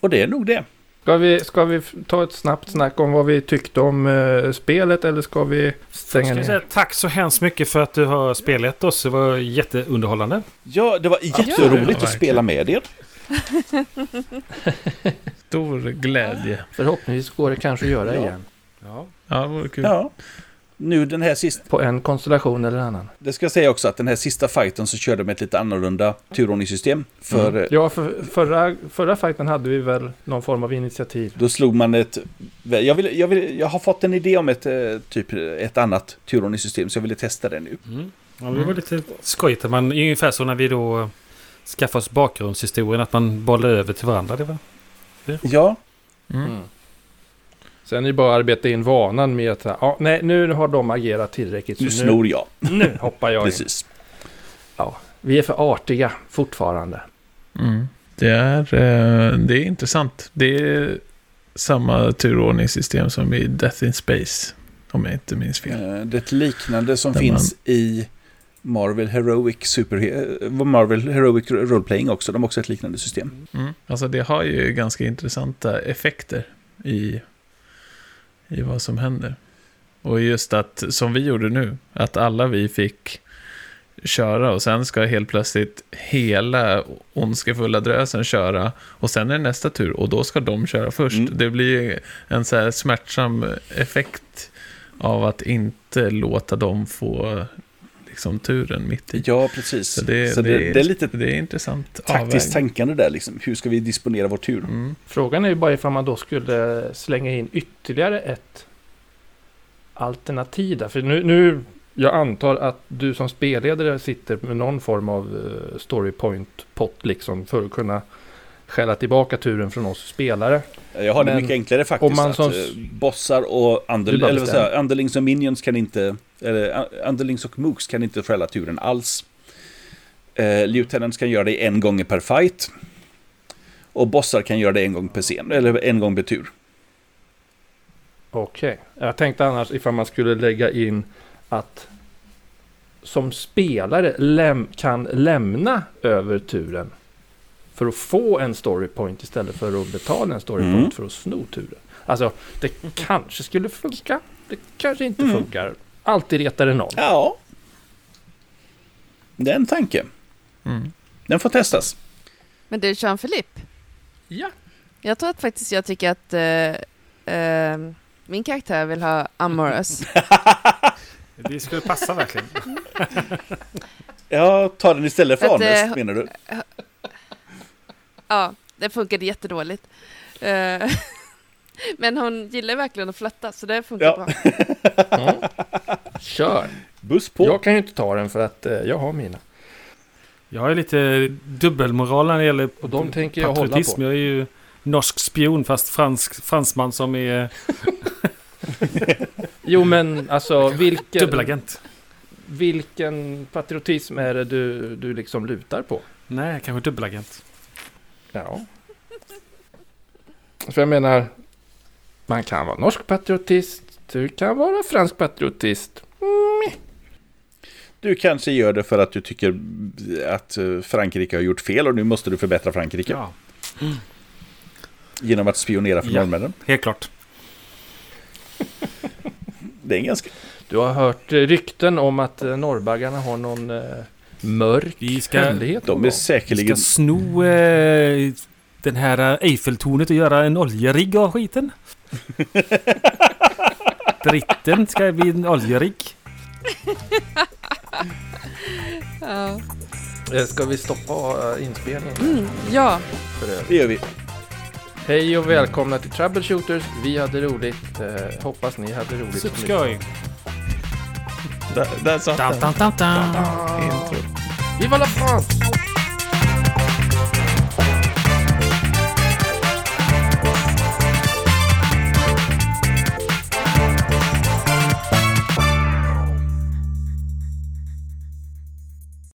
[SPEAKER 3] Och det är nog det.
[SPEAKER 7] Ska vi, ska vi f- ta ett snabbt snack om vad vi tyckte om eh, spelet eller ska vi stänga
[SPEAKER 5] Ska jag
[SPEAKER 7] ner?
[SPEAKER 5] säga, tack så hemskt mycket för att du har spelat oss. Det var jätteunderhållande.
[SPEAKER 3] Ja, det var
[SPEAKER 6] Ja,
[SPEAKER 3] jätteroligt
[SPEAKER 6] verkligen.
[SPEAKER 3] att spela med er.
[SPEAKER 6] Stor glädje.
[SPEAKER 7] Förhoppningsvis går det kanske att göra
[SPEAKER 3] Ja.
[SPEAKER 7] igen.
[SPEAKER 5] Ja.
[SPEAKER 6] Ja, det vore kul.
[SPEAKER 3] Ja. Nu den här sista,
[SPEAKER 7] På en konstellation eller annan.
[SPEAKER 3] det ska jag säga också att den här sista fighten så körde de med ett lite annorlunda turordningssystem. För eh,
[SPEAKER 7] Mm. Ja, för, förra, förra fighten hade vi väl någon form av initiativ.
[SPEAKER 3] Då slog man ett... Jag, vill, jag, vill, jag har fått en idé om ett, eh, typ, ett annat turordningssystem, så jag ville testa det nu.
[SPEAKER 5] Mm. Ja, det var lite skojigt. att Man, ungefär så när vi då eh, skaffade oss bakgrundshistorien, att man bollade över till varandra. Det var.
[SPEAKER 3] Ja,
[SPEAKER 7] Sen är det bara att arbeta in vanan med att ja, nej, nu har de agerat tillräckligt.
[SPEAKER 3] nu
[SPEAKER 7] Så nu,
[SPEAKER 3] snor jag.
[SPEAKER 7] nu hoppar jag in.
[SPEAKER 3] Precis.
[SPEAKER 7] Vi är för artiga fortfarande.
[SPEAKER 6] Mm. Det, är, eh, det är intressant. Det är samma turordningssystem som i Death in Space. Om jag inte minns fel.
[SPEAKER 3] Eh, Det är ett liknande som
[SPEAKER 6] Där
[SPEAKER 3] finns i Marvel Heroic, Super, eh, Marvel Heroic Roleplaying också. De har också ett liknande system.
[SPEAKER 6] Mm. Alltså det har ju ganska intressanta effekter i, i vad som händer. Och just att, som vi gjorde nu, att alla vi fick köra och sen ska helt plötsligt hela ondskefulla drösen köra och sen är det nästa tur och då ska de köra först.
[SPEAKER 3] Mm.
[SPEAKER 6] Det blir ju en så här smärtsam effekt av att inte låta dem få liksom turen mitt
[SPEAKER 7] Mm.
[SPEAKER 6] i.
[SPEAKER 3] Ja, precis.
[SPEAKER 6] Så det,
[SPEAKER 3] så det, det, är lite
[SPEAKER 6] det är intressant
[SPEAKER 3] taktiskt
[SPEAKER 6] avvägning.
[SPEAKER 3] tänkande där, liksom. Hur ska vi disponera vår tur?
[SPEAKER 6] Mm.
[SPEAKER 7] Frågan är ju bara ifall man då skulle slänga in ytterligare ett alternativ där. För nu, nu jag antar att du som spelledare sitter med någon form av eh, storypoint-pott liksom för att kunna skälla tillbaka turen från oss spelare.
[SPEAKER 3] Jag har det
[SPEAKER 7] Men
[SPEAKER 3] mycket enklare faktiskt.
[SPEAKER 7] om man
[SPEAKER 3] att,
[SPEAKER 7] som-
[SPEAKER 3] eh, bossar och
[SPEAKER 7] Du
[SPEAKER 3] andel,
[SPEAKER 7] bara
[SPEAKER 3] eller vad
[SPEAKER 7] bestämmer.
[SPEAKER 3] säger jag, Underlings och Minions kan inte... Eller a- Underlings och Mooks kan inte skälla turen alls. Eh, Lieutenants kan göra det en gång per fight. Och bossar kan göra det en gång per scen, eller en gång per tur.
[SPEAKER 7] Okej. Jag tänkte annars ifall man skulle lägga in att som spelare läm- kan lämna över turen för att få en storypoint istället för att betala en storypoint
[SPEAKER 3] Mm.
[SPEAKER 7] för att sno turen. Alltså, det kanske skulle funka. Det kanske inte
[SPEAKER 3] Mm.
[SPEAKER 7] funkar. Alltid retar det någon.
[SPEAKER 3] Ja. Det är en tanke.
[SPEAKER 6] Mm.
[SPEAKER 3] Den får testas.
[SPEAKER 1] Men du, Jean-Philippe.
[SPEAKER 7] Ja.
[SPEAKER 1] Jag tror att faktiskt jag tycker att eh, eh, min karaktär vill ha amorous.
[SPEAKER 5] Det skulle passa verkligen.
[SPEAKER 3] Jag tar den istället för
[SPEAKER 1] Att,
[SPEAKER 3] Honest,
[SPEAKER 1] eh,
[SPEAKER 3] menar du?
[SPEAKER 1] ja, det funkade jättedåligt. Eh, men hon gillar verkligen att flytta, så det funkar
[SPEAKER 3] Ja.
[SPEAKER 1] bra.
[SPEAKER 7] Mm. Kör!
[SPEAKER 3] Buss på.
[SPEAKER 7] Jag kan ju inte ta den för att eh, jag har mina.
[SPEAKER 5] Jag är lite dubbelmoral när det gäller
[SPEAKER 7] Och de tänker jag hålla
[SPEAKER 5] patriotism.
[SPEAKER 7] på.
[SPEAKER 5] Jag är ju norsk spion fast fransk, fransman som är
[SPEAKER 7] Jo men alltså vilken,
[SPEAKER 5] dubbelagent.
[SPEAKER 7] vilken patriotism är det du, du liksom lutar på?
[SPEAKER 5] Nej, kanske dubbelagent.
[SPEAKER 7] Ja. För jag menar, man kan vara norsk patriotist, du kan vara fransk patriotist.
[SPEAKER 3] Du kanske gör det för att du tycker att eh, Frankrike har gjort fel och nu måste du förbättra Frankrike.
[SPEAKER 5] Ja,
[SPEAKER 3] Genom att spionera för
[SPEAKER 5] Ja.
[SPEAKER 3] norrmännen.
[SPEAKER 5] helt klart.
[SPEAKER 3] Det är en ganska...
[SPEAKER 7] Du har hört eh, rykten om att eh, norrbaggarna har någon eh, mörk
[SPEAKER 5] Vi ska,
[SPEAKER 7] hemlighet. om
[SPEAKER 3] De är
[SPEAKER 7] dem.
[SPEAKER 5] vi
[SPEAKER 3] säkerligen...
[SPEAKER 5] ska sno eh, den här Eiffeltornet och göra en oljerigg av skiten. Britten ska bli en oljerigg.
[SPEAKER 1] Ja.
[SPEAKER 7] Eh, Ska vi stoppa eh, inspelningen?
[SPEAKER 1] Mm, ja.
[SPEAKER 7] För övrigt?
[SPEAKER 3] Det gör vi.
[SPEAKER 7] Hej och välkomna till Troubleshooters. Vi hade roligt. Eh, hoppas ni hade roligt. som lyssnade.
[SPEAKER 5] Superskoj!
[SPEAKER 6] Där, där satt
[SPEAKER 5] Dun,
[SPEAKER 6] den.
[SPEAKER 5] dun, dun, dun.
[SPEAKER 7] Ah,
[SPEAKER 6] Intro.
[SPEAKER 7] Viva la France!